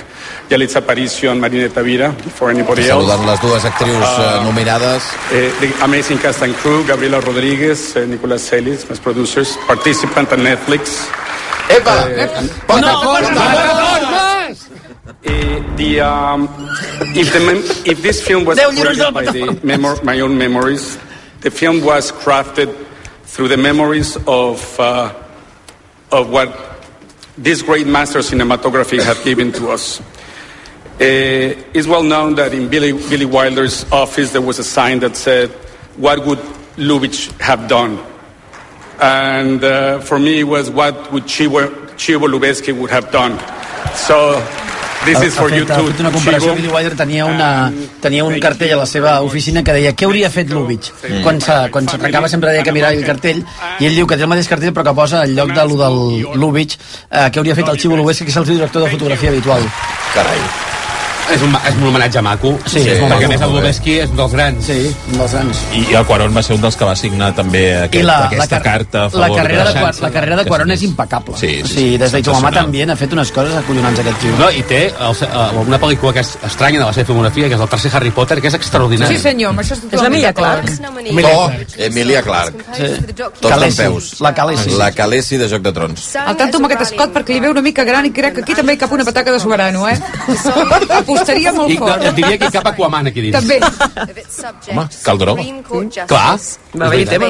G: Yalitza Aparicio and Marina Tavira, before anybody else.
C: Saludant les dues actrius eh, nominades.
G: Uh, Ah. the amazing cast and crew, Gabriela Rodríguez, uh, Nicolas Celis, my producers, participant on Netflix. Eh,
C: Pota,
G: pota, The, um, if, the mem- if this film was
Q: Deu lliures
G: curated by
Q: del
G: the memor- my own memories, the film was crafted through the memories of, uh, of what this great master cinematography have given to us. Eh, it's well known that in Billy, Billy Wilder's office there was a sign that said, What would Lubitsch have done? And uh, for me, it was what would Chivo, Chivo Lubeski would have done. So this
B: Ha-
G: is
B: ha
G: for you
B: fet, ha fet una
G: too, Um,
B: comparació. Billy
G: Chivo.
B: Wilder tenia, una, tenia un cartell a la seva oficina que deia què hauria fet Lubitsch.
Q: Mm.
B: Quan, se, quan se trencava sempre deia que mirava el cartell i ell diu que té el mateix cartell però que posa en lloc de lo del Lubitsch eh, què hauria fet el Xivo Lubitsch que és el seu director de fotografia habitual.
C: Carai.
A: És un, és un homenatge maco.
B: Sí, és molt
A: perquè
B: maco,
A: a més el
B: molt bé.
A: Lubeski és un dels grans.
B: Sí, un dels grans.
D: i, i el Cuarón va ser un dels que va signar també aquest, la, aquesta
B: car-
D: carta a
B: la
D: favor
B: carrera de,
D: de
B: Cuar- la carrera de Cuarón és impecable.
D: Sí, sí,
B: o sigui, des de Itomamà
A: sensacional.
B: també ha fet unes coses acollonants aquest tio.
A: No, I té el, se- eh, una pel·lícula que és estranya de la seva filmografia, que és el tercer Harry Potter, que és extraordinari.
E: Sí, senyor, amb això és totalment
Q: l'Emilia
E: d'acord.
C: Oh, Emilia Clark. Sí. Tots d'en peus.
B: La Calesi.
C: La Calesi de Joc de Trons.
E: Al tanto amb aquest escot perquè li veu una mica gran i crec que aquí també hi cap una pataca de soberano, eh? Apostaria molt
A: I no,
E: fort.
A: et diria que hi cap Aquaman aquí dins.
E: També.
D: Home, Calderó.
A: Clar.
D: Va bé, tema.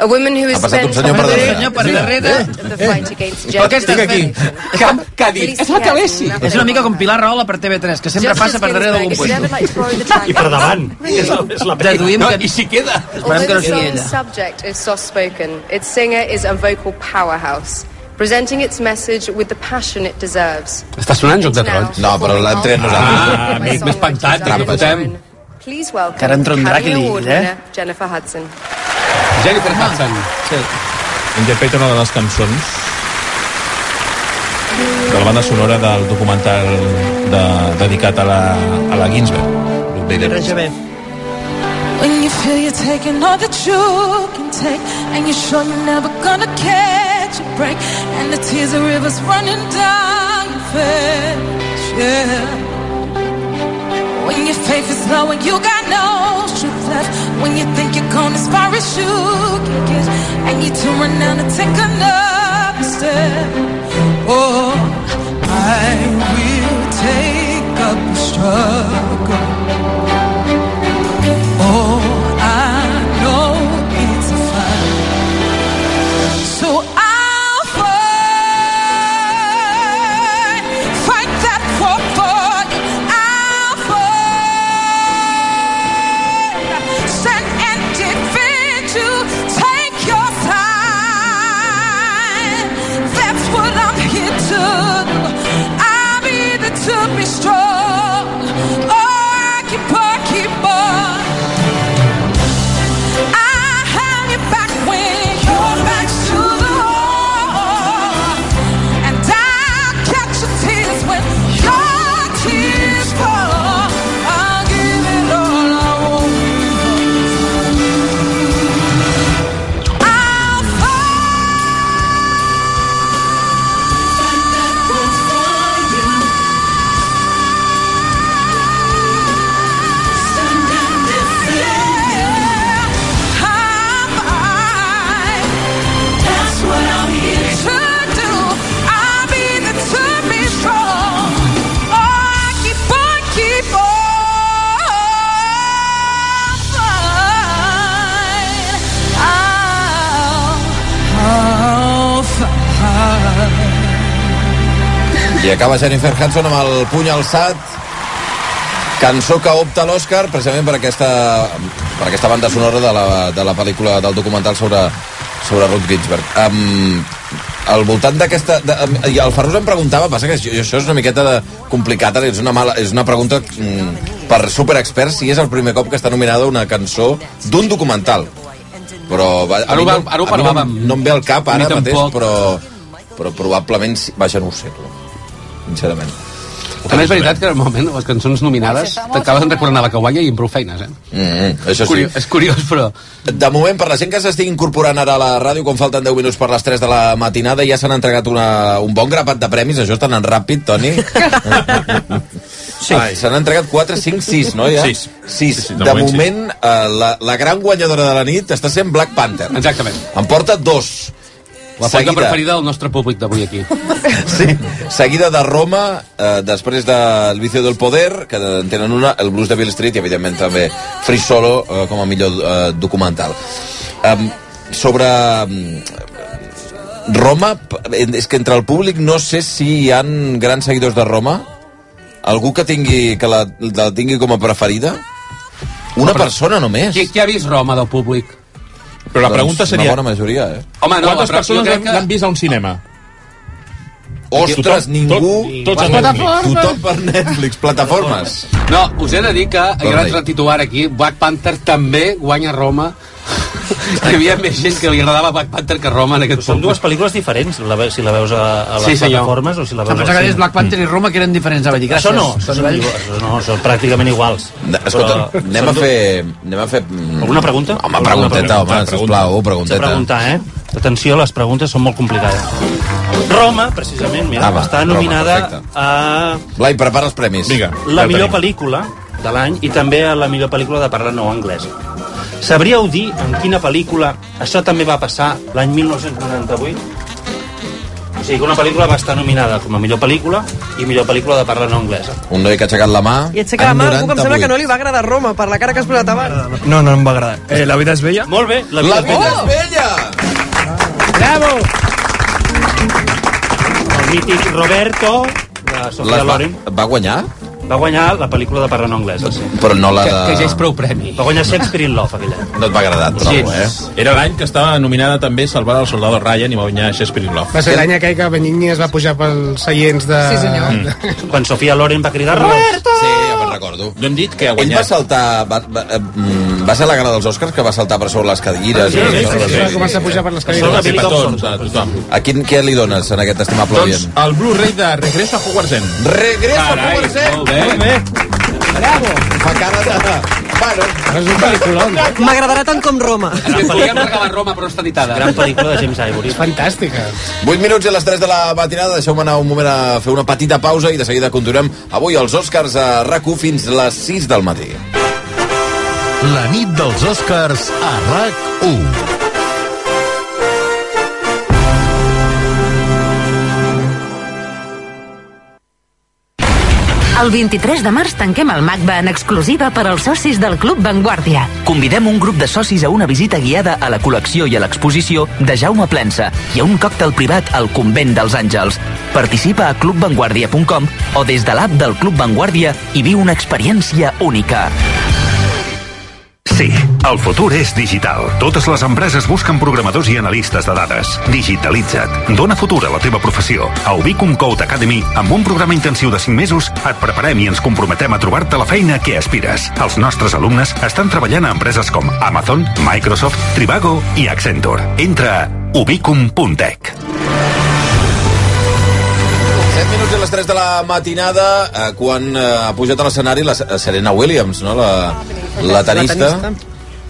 H: A woman who has
D: Ha passat
H: spent
D: un senyor per darrere.
H: the-
B: Per darrere...
H: the fight against
B: Eh,
H: gender
B: Estic aquí.
A: Que ha dit?
B: És la Calesi. És una mica com Pilar Rahola per TV3, que sempre passa per darrere d'algun puesto.
H: I per davant.
B: [LAUGHS]
F: És la- és la
B: Deduïm
A: No,
B: que...
A: I si queda.
B: Esperem que no sigui
H: Although the
B: ella.
H: song's subject is soft-spoken, its singer is a vocal powerhouse, presenting its message with the passion it deserves.
A: Està sonant Joc de Trons?
C: No, però l'hem tret nosaltres.
A: Ah, amic, m'he espantat, que fotem.
H: Please welcome
A: Que ara entra un drac i
H: Academy
A: li-
H: Award
A: eh?
H: winner Jennifer Hudson.
A: Jennifer Hudson.
B: Sí.
D: interpreta una de les cançons de la banda sonora del documental de, dedicat a la, a la Ginsberg. Ruth Bader Ginsburg.
Y: When you feel you're taking all that you can take, and you're sure you're never gonna catch a break, and the tears are rivers running down your face, yeah. When your faith is low and you got no strength left, when you think you're gone as far as you can get, and you turn around and take another step, oh, I will take up the struggle. Oh, I know it's a fight. So I'll fight, fight that war for you. I'll fight, stand and defend you. Take your side. That's what I'm here to do. I'm either to be strong or I keep on, keep on. I have your back when your back's to the wall. And I'll catch your tears when your tears fall. I'll give it all I want. I'll fight that good for you. Stand and defend. That's what I'm here to do. I'll be the to be strong. Oh, I keep on, keep on. Fine. I'll, I'll fight.
C: I acaba Jennifer Hudson amb el puny alçat. Cançó que opta a l'Oscar precisament per aquesta, per aquesta banda sonora de la, de la pel·lícula del documental sobre, sobre Ruth Ginsberg. Um, al voltant d'aquesta... de- em- i El Ferrus em preguntava, passa que jo- això és una miqueta de complicat, ara, és una, mala, és una pregunta mm, per superexperts si és el primer cop que està nominada una cançó d'un documental. Però va,
A: Ara ho
C: no,
A: vam- ara ho
C: a mi no,
A: parlàvem.
C: no em ve al cap
A: Ni
C: ara mateix,
A: tampoc.
C: però, però probablement... sí. Vaja, no ho sé, tu. Sincerament.
A: També és veritat que normalment les cançons nominades t'acaben recordant a la cagualla i amb prou feines, eh?
C: Mm, això sí.
A: Curio- és curiós, però...
C: De moment, per la gent que s'estigui incorporant ara a la ràdio, quan falten 10 minuts per les 3 de la matinada, ja s'han entregat una, un bon grapat de premis. Això està anant ràpid, Toni. Sí. Se n'han entregat 4, 5, 6, no? Ja?
D: Sis.
C: 6.
D: Sí, sí,
C: de, moment, eh, la, la gran guanyadora de la nit està sent Black Panther.
A: Exactament.
C: En porta dos.
A: La foto preferida del nostre públic d'avui aquí.
C: Sí, seguida de Roma, eh, després de El vicio del poder, que en tenen una, el blues de Bill Street i, evidentment, també Free Solo eh, com a millor eh, documental. Um, sobre mm, Roma, p- és que entre el públic no sé si hi han grans seguidors de Roma, algú que tingui que la, la tingui com a preferida, una persona només. Doncs
A: Qui, qui ha vist Roma del públic?
D: Però la pregunta seria-
C: Una bona majoria, eh?
A: Home,
D: Quantes
A: no, però jo
D: persones
A: crec
D: l'han
A: que-
D: que... vist a un cinema?
C: Ostres,
D: Tothom-
C: ningú...
D: tot- tots a
C: Tothom,
D: Netflix.
C: tothom per Netflix, plataformes.
A: No, us he de dir que hi ha un
C: Torna-hi.
A: altre titular aquí. Black Panther també guanya Roma. Hi havia més gent que li agradava Black Panther que Roma en aquest
F: Són
A: punt.
F: dues pel·lícules diferents, la, ve- si la veus a, a les
A: Sí,
F: sí,
A: senyor.
F: plataformes o si la
B: Em
F: veus
B: pensava que
F: al
B: deies
F: cine.
B: Black Panther i Roma, que eren diferents. Ara vaig dir, gràcies.
F: Això no, això no, això no, són pràcticament iguals.
C: Escolta, anem a fer... Anem a fer...
F: Alguna pregunta?
C: Home, pregunteta, home, sisplau, pregunteta.
F: S'ha de preguntar, eh? Atenció, les preguntes són molt complicades. Roma, precisament, mira,
C: Ah, va,
F: està
C: Roma,
F: nominada
C: perfecte.
F: a
C: Blai, prepara els premis. Vinga.
F: la millor pel·lícula de l'any i també a la millor pel·lícula de parla no anglesa. Sabríeu dir en quina pel·lícula això també va passar l'any 1998? O sigui, que una pel·lícula va estar nominada com a millor pel·lícula i millor pel·lícula de parla no anglesa.
C: Un noi que ha aixecat la mà...
Q: I aixeca la
C: en
Q: mà a algú que em sembla
C: 98.
Q: que no li va agradar Roma, per la cara que has posat abans.
N: No, no em va agradar. Eh, la vida és bella?
F: Molt bé, la
N: vida
C: La vida és bella!
Q: Bravo!
F: El mític Roberto, de Sofia
C: Les va,
F: Loren,
C: va guanyar?
F: va guanyar la pel·lícula de parla no anglesa, sí.
C: Però no la
F: Que-
C: de...
F: que ja és
A: prou premi.
F: Va guanyar Shakespeare in Love, aquella.
C: No et va agradar, trobo, eh?
D: Era l'any que estava nominada també Salvar al soldado Ryan i va guanyar Shakespeare in Love.
I: Va ser l'any aquell que Benigni es va pujar pels seients de...
D: Sí, senyor.
F: Mm. Quan Sofia Loren va cridar Roberto!
C: Sí, ja me'n recordo.
D: No hem dit que ha
C: Ell va saltar... Va, va, eh, mm, va ser la gala dels Oscars que va saltar per sobre les cadires.
I: Sí,
C: i-
I: sí, sí, sí, va començar a pujar per les cadires.
D: Sí, petons, a tothom.
C: A quin, què li dones en aquest estimable
D: Doncs
C: doncs...
D: el Blu-ray de Regreso a Hogwarts Zen.
C: Regreso a
D: Carai,
C: Hogwarts Zen.
D: Molt bé.
C: Molt
Q: Bravo!
C: Fa cara de... Bueno,
I: és un pel·lículon.
Q: M'agradarà tant com Roma.
A: Es podíem regalar Roma, però no està editada.
F: Gran pel·lícula de James Ivory.
I: Fantàstica.
C: 8 minuts i a les 3 de la matinada. Deixeu-me anar un moment a fer una petita pausa i de seguida continuem avui els Oscars a rac fins les 6 del matí.
S: La nit dels Oscars a RAC1.
R: El 23 de març tanquem el MACBA en exclusiva per als socis del Club Vanguardia.
U: Convidem un grup de socis a una visita guiada a la col·lecció i a l'exposició de Jaume Plensa i a un còctel privat al Convent dels Àngels. Participa a clubvanguardia.com o des de l'app del Club Vanguardia i viu una experiència única.
J: Sí, el futur és digital. Totes les empreses busquen programadors i analistes de dades. Digitalitza't. Dóna futur a la teva professió. A Ubicum Code Academy, amb un programa intensiu de 5 mesos, et preparem i ens comprometem a trobar-te la feina que aspires. Els nostres alumnes estan treballant a empreses com Amazon, Microsoft, Trivago i Accenture. Entra a e ubicum.tech.
C: 7 minuts a les 3 de la matinada, eh, quan eh, ha pujat a l'escenari la eh, Serena Williams, no? la, la tenista.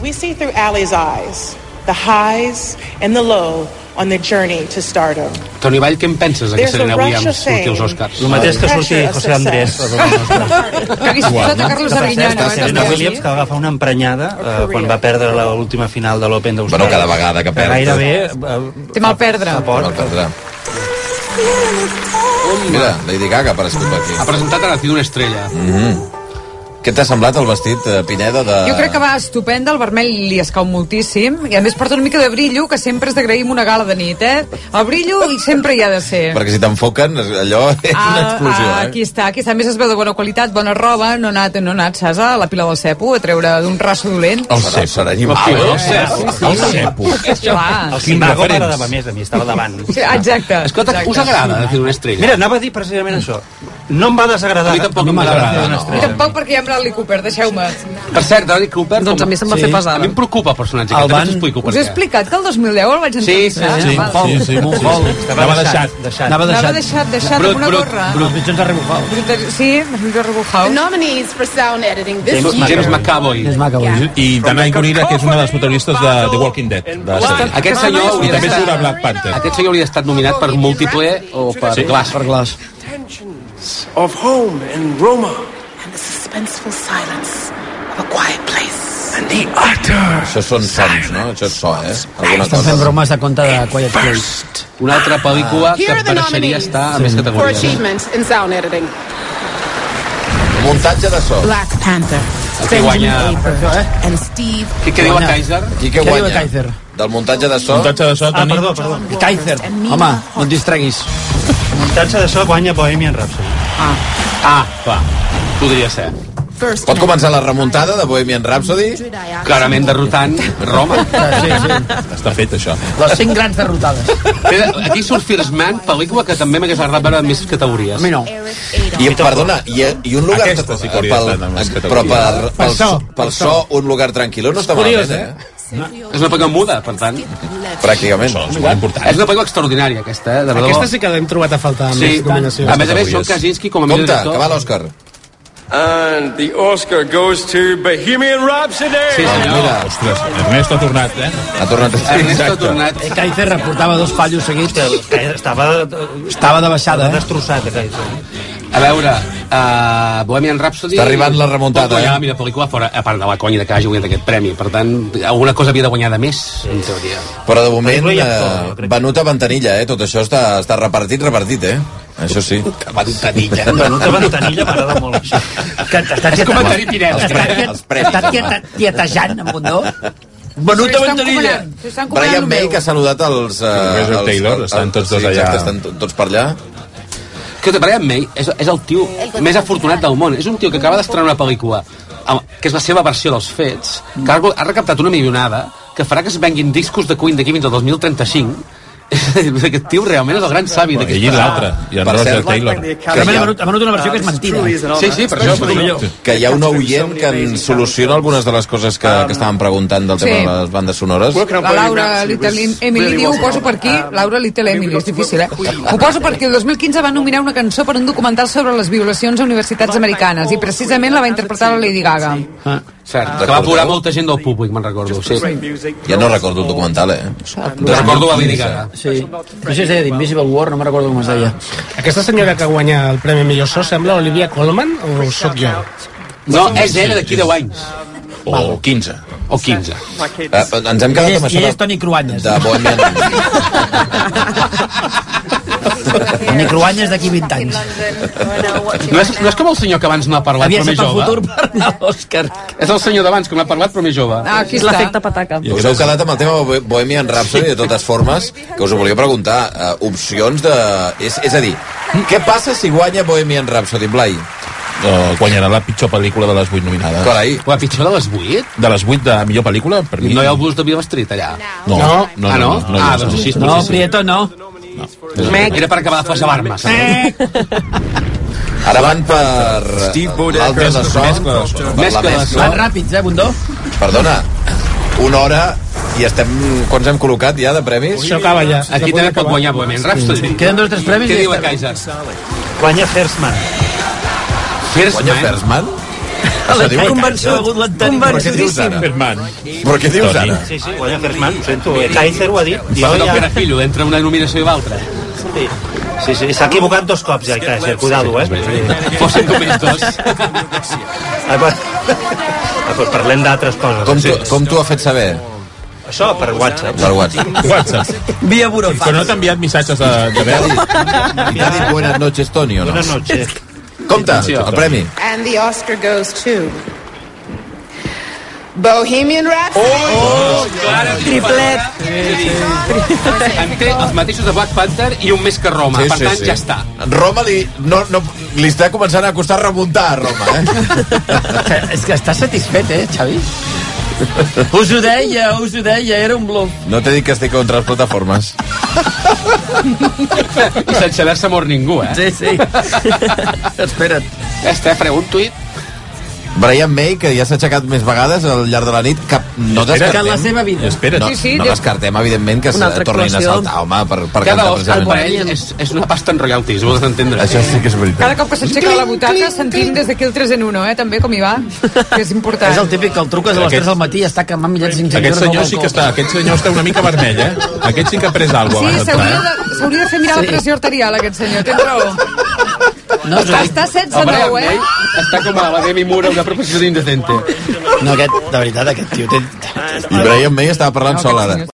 M: We see through Allie's eyes the highs and the low on the journey to stardom.
A: Toni Vall, què en penses de que
M: There's
A: Serena
M: a rush
A: Williams
M: of
A: surti als
M: fame.
A: Oscars?
F: El mateix que surti José Andrés. [LAUGHS]
M: Que hagués
E: posat
F: Ah,
E: a Carlos Arguiñano, eh, també.
F: Serena Williams que va agafar una emprenyada eh, quan va perdre la- l'última final de l'Open d'Austràlia.
C: Bueno, cada vegada que perd.
F: Gairebé... eh,
E: Té mal perdre.
C: Bueno, perdrà. Mira, Lady Gaga ha aparegut aquí.
A: Ha presentat a la fi d'una estrella.
C: Mm -hmm. Què t'ha semblat el vestit, eh, Pineda? De...
E: Jo crec que va estupenda, el vermell li escau moltíssim, i a més porta una mica de brillo, que sempre és d'agraïm una gala de nit, eh? El brillo i sempre hi ha de ser.
C: Perquè si t'enfoquen, allò és una explosió,
E: ah,
C: eh?
E: Aquí està, aquí està. A més es veu de bona qualitat, bona roba, no ha anat, no ha anat, saps, a la pila del cepo, a treure d'un raso dolent.
C: El cep. Serà animal,
F: El
C: eh?
F: cep.
C: El cepo.
E: Clar.
F: El
C: Quin
F: Simago
C: referents.
F: m'agradava més a mi, estava davant.
E: Sí, exacte.
A: Escolta,
E: exacte.
A: us agrada de Cido una estrella?
F: Mira, anava a dir precisament això. No em va desagradar.
A: A mi tampoc em va agradar,
F: Una
A: no.
E: I
F: estrella.
E: tampoc perquè hi ha Bradley Cooper, deixeu-me.
A: Per cert, Bradley Cooper...
E: Doncs a mi se'm va fer pesada.
A: A mi em preocupa el personatge.
E: El
A: El
E: van-
A: van... Us explico per
E: Us he
A: què.
E: explicat que el 2010 el vaig entrevistar?
A: sí, sí,
E: Vale.
A: Mongol. Sí, sí, Mongol. Anava deixat, deixat.
E: Anava deixat. Anava deixat, deixat, amb una gorra.
N: Brut, mitjons de rebufal.
E: eh, Sí, és millor rebujau.
T: Nominees for sound editing this
A: Oh. James,
T: year.
A: James McAvoy. James
D: McAvoy. I Danai Gurira, que és una de les protagonistes de The Walking Dead. De la sèrie.
A: Aquest senyor
D: I
A: hauria
D: també
A: d'estar-
D: surt a Black Panther.
A: Aquest senyor hauria estat nominat per múltiple o per
D: Sí.
A: Glass. Per
B: Glass.
V: of home and Roma.
T: And the suspenseful silence of a quiet place.
V: And the utter
C: Això són sons, no? Això és so, eh? Alguna
B: Estan fent
C: cosa.
B: bromes de compte de Quiet Place.
A: Una altra pel·lícula que
T: Here are the
A: mereixeria
T: nominees
A: estar a més
T: for
A: categories.
T: achievement in sound editing.
C: Muntatge de so.
T: Black Panther.
A: Qui guanya...
T: And Steve.
A: Qui què diu a Kaiser?
C: I què guanya? Del muntatge de so.
D: Muntatge de so,
C: Ah,
D: Toni.
C: perdó,
D: perdó.
B: Kaiser. Home, no et distreguis.
F: Muntatge de so guanya Bohemian Rhapsody.
T: Ah.
A: Ah, va. Podria ser.
C: Pot començar la remuntada de Bohemian Rhapsody?
A: Clarament derrotant Roma.
B: Sí, sí.
D: Està fet, això.
B: Les cinc grans derrotades.
A: Espera, Aquí surt First Man, pel·lícula que també m'hagués agradat veure en més categories. A
B: mi no.
C: I, perdona, i, i un lugar...
D: Aquesta sí que hauria
C: pel,
D: estat en les
C: però per,
D: categories.
C: pel, pel, pel so, un lugar tranquil no està
A: Curiós,
C: malament, eh?
A: És una pel·lícula muda, per tant.
C: Pràcticament.
A: És una pel·lícula extraordinària, aquesta. Eh? De debò.
I: Aquesta sí que l'hem trobat a faltar amb
A: Sí,
I: sí, nominacions.
A: a més a més,
D: eh?
A: són Kaczynski com a millor
C: Compte,
A: director.
C: que va l'Òscar.
V: And the Oscar goes to Bohemian Rhapsody.
D: Mira, ostres, Ernesto ha tornat, eh?
C: Ha tornat.
A: Ernesto ha tornat.
B: Eh, Kaiser reportava dos fallos seguits.
F: Estava... eh,
B: Estava de baixada, eh?
F: Destrossat, Kaiser.
A: A veure, uh, Bohemian Rhapsody...
C: Està arribant la remuntada,
A: Pot guanyar
C: eh?
A: la millor pel·lícula fora, a part de la conya de que hagi guanyat aquest premi. Per tant, alguna cosa havia de guanyar de més, en teoria.
C: Però de moment, eh, venut a ventanilla, eh? Tot això està, està repartit, repartit, eh? Això sí.
A: Ventanilla.
F: Venut a ventanilla m'agrada molt, això.
B: Que t'està
F: És comentari
C: Pineda. Els
A: Eh,
C: pre- els premis.
B: Està tieta- tietejant amb un do.
C: Venut a ventanilla.
E: S'estan cobrant
C: Brian
E: el
C: May,
E: meu.
C: que ha saludat els... Eh,
D: Només el Taylor, estan tots dos
C: sí,
D: allà.
C: Exacte, estan to- tots per allà.
A: Que Brian May és, és el tio més afortunat del món. És un tio que acaba d'estrenar una pel·lícula amb- que és la seva versió dels fets, que ha, ha recaptat una milionada, que farà que es venguin discos de Queen d'aquí fins al 2035. Aquest tio realment és el gran savi d'aquesta...
D: Ell i l'altre, i en
C: Per
D: Roger
C: cert,
D: Taylor.
C: Que hi ha-
B: Ha venut una versió que és mentida.
A: Sí, sí, per això. Per això.
C: que hi ha un oient que ens soluciona algunes de les coses que, que estàvem preguntant del tema
E: Sí.
C: de les bandes sonores.
E: La Laura Little Emily diu, ho poso per aquí, Laura Little Emily, és difícil, eh? Ho poso perquè el 2015 va nominar una cançó per un documental sobre les violacions a universitats americanes i precisament la va interpretar la Lady Gaga.
A: Ah, cert, que va plorar molta gent del públic, me'n recordo. Sí.
C: Ja no recordo el documental, eh?
A: Recordo la Lady Gaga.
B: Sí. Però això es deia d'Invisible War, no me'n recordo com es deia.
I: Aquesta senyora que guanya el Premi Millor So sembla Olivia Colman o sóc jo?
A: No, és ella d'aquí 10 anys.
D: O 15.
A: O 15.
C: Eh, ens hem quedat amb això de,
B: Toni Cruanyes.
C: de Bohemian.
B: Toni Cruanyes d'aquí 20 anys.
A: No és, no és com el senyor que abans no ha parlat,
B: Havia
A: però més
B: estat el
A: jove.
B: futur per anar a l'Òscar.
A: És el senyor d'abans que no ha parlat, però més jove.
E: Ah, aquí
Q: És
E: està.
Q: l'efecte pataca.
C: Us heu quedat amb el tema Bo- Bohemian Rhapsody, de totes formes, que us ho volia preguntar. eh, opcions de... És, és a dir, què passa si guanya Bohemian Rhapsody, Blai?
D: Eh, guanyarà la pitjor pel·lícula de les 8 nominades.
C: Carai.
A: La pitjor de les 8?
D: De les 8 de millor pel·lícula, per mi...
A: No hi ha el bus de Viva Street allà?
D: No.
A: No?
D: No,
A: Ah, no?
D: no, no, no,
A: Ah,
D: no.
A: doncs així
B: No,
A: potser sí.
B: Prieto, no.
A: Era per acabar de fasabar-me.
C: Ara van per eh, l'altre de so, per la
A: Mescla de
C: mescla.
B: Van ràpids, eh, Bundó?
C: Perdona, una hora i estem... Quants hem col·locat ja de premis?
I: Això acaba ja.
A: Aquí també pot guanyar Bohemian Rhapsody.
B: Queden dos o tres premis
A: Què
B: i
A: diu
B: ja
A: a
B: està.
A: Kaiser?
F: Guanya Fersman.
A: First
C: Guanya
A: Man?
C: Fersman? Això
Q: L'he
C: diu
Q: convençut, convençudíssim.
D: Birdman.
C: Però què dius ara?
F: Sí, sí, guanya Fersman, ho sento. eh, Kaiser ho ha dit.
A: Fa
F: Jo
A: un
F: ja...
A: grafillo entre una nominació i l'altra.
F: Sí, sí, sí, s'ha equivocat dos cops ja el Kaiser, cuidado, eh?
A: Fossin com ells dos.
F: Ah, va- Ah, doncs parlem d'altres coses.
C: Com tu,
F: Sí.
C: com tu ha fet saber?
F: Això per WhatsApp.
C: Per WhatsApp.
D: [LAUGHS] WhatsApp.
B: Via
F: Ah,
D: Però no t'ha enviat missatges de, de veu?
C: I t'ha dit buenas noches, Toni, o no?
F: Buenas noches.
C: Compte, el premi.
M: And the Oscar goes to Bohemian Rhapsody.
A: Triplet. En té els mateixos de Black Panther i un més que Roma. per tant, ja està.
C: Roma li, no, no, li està començant a costar remuntar a Roma, eh?
B: És que estàs satisfet, eh, Xavi? Us ho deia, us ho deia, era un bloc.
C: No t'he dit que estic contra les plataformes.
A: I sense haver-se mort ningú, eh?
B: Sí, [LAUGHS] sí. Espera't.
A: Ja està, fareu un tuit.
C: Brian May, que ja s'ha aixecat més vegades al llarg de la nit, que no
B: Espera't.
C: descartem...
D: eh?
B: Que en la seva vida.
C: Espera't. No,
B: Sí, sí,
C: no
B: Déu.
C: descartem, evidentment, que
B: Una altra
C: se tornin a
B: actuació.
C: saltar, home, per, per
A: Cada
C: cantar
A: Òscar per
C: precisament.
A: ell és, és una pasta en royalties, ho has d'entendre.
C: Això sí que és veritat.
E: Cada cop que s'aixeca de la butaca sentim des d'aquí el 3 en 1, eh? També com hi va, que és important.
B: És el típic que el truques a les
D: Aquest-
B: 3 del matí i està camant millets i
D: Aquest senyor sí que està, aquest senyor està una mica vermell, eh? Aquest sí que ha pres alguna
E: Sí,
D: cosa. eh?
E: s'hauria de, s'hauria de fer mirar sí.
D: Sí.
E: la pressió arterial, aquest senyor, tens raó.
B: No,
E: està, està 16 a 9, eh?
A: Està com a la Demi Moore, una proposició d'indecente.
B: No, aquest, de veritat, aquest tio té...
C: I Brian May estava parlant sol ara.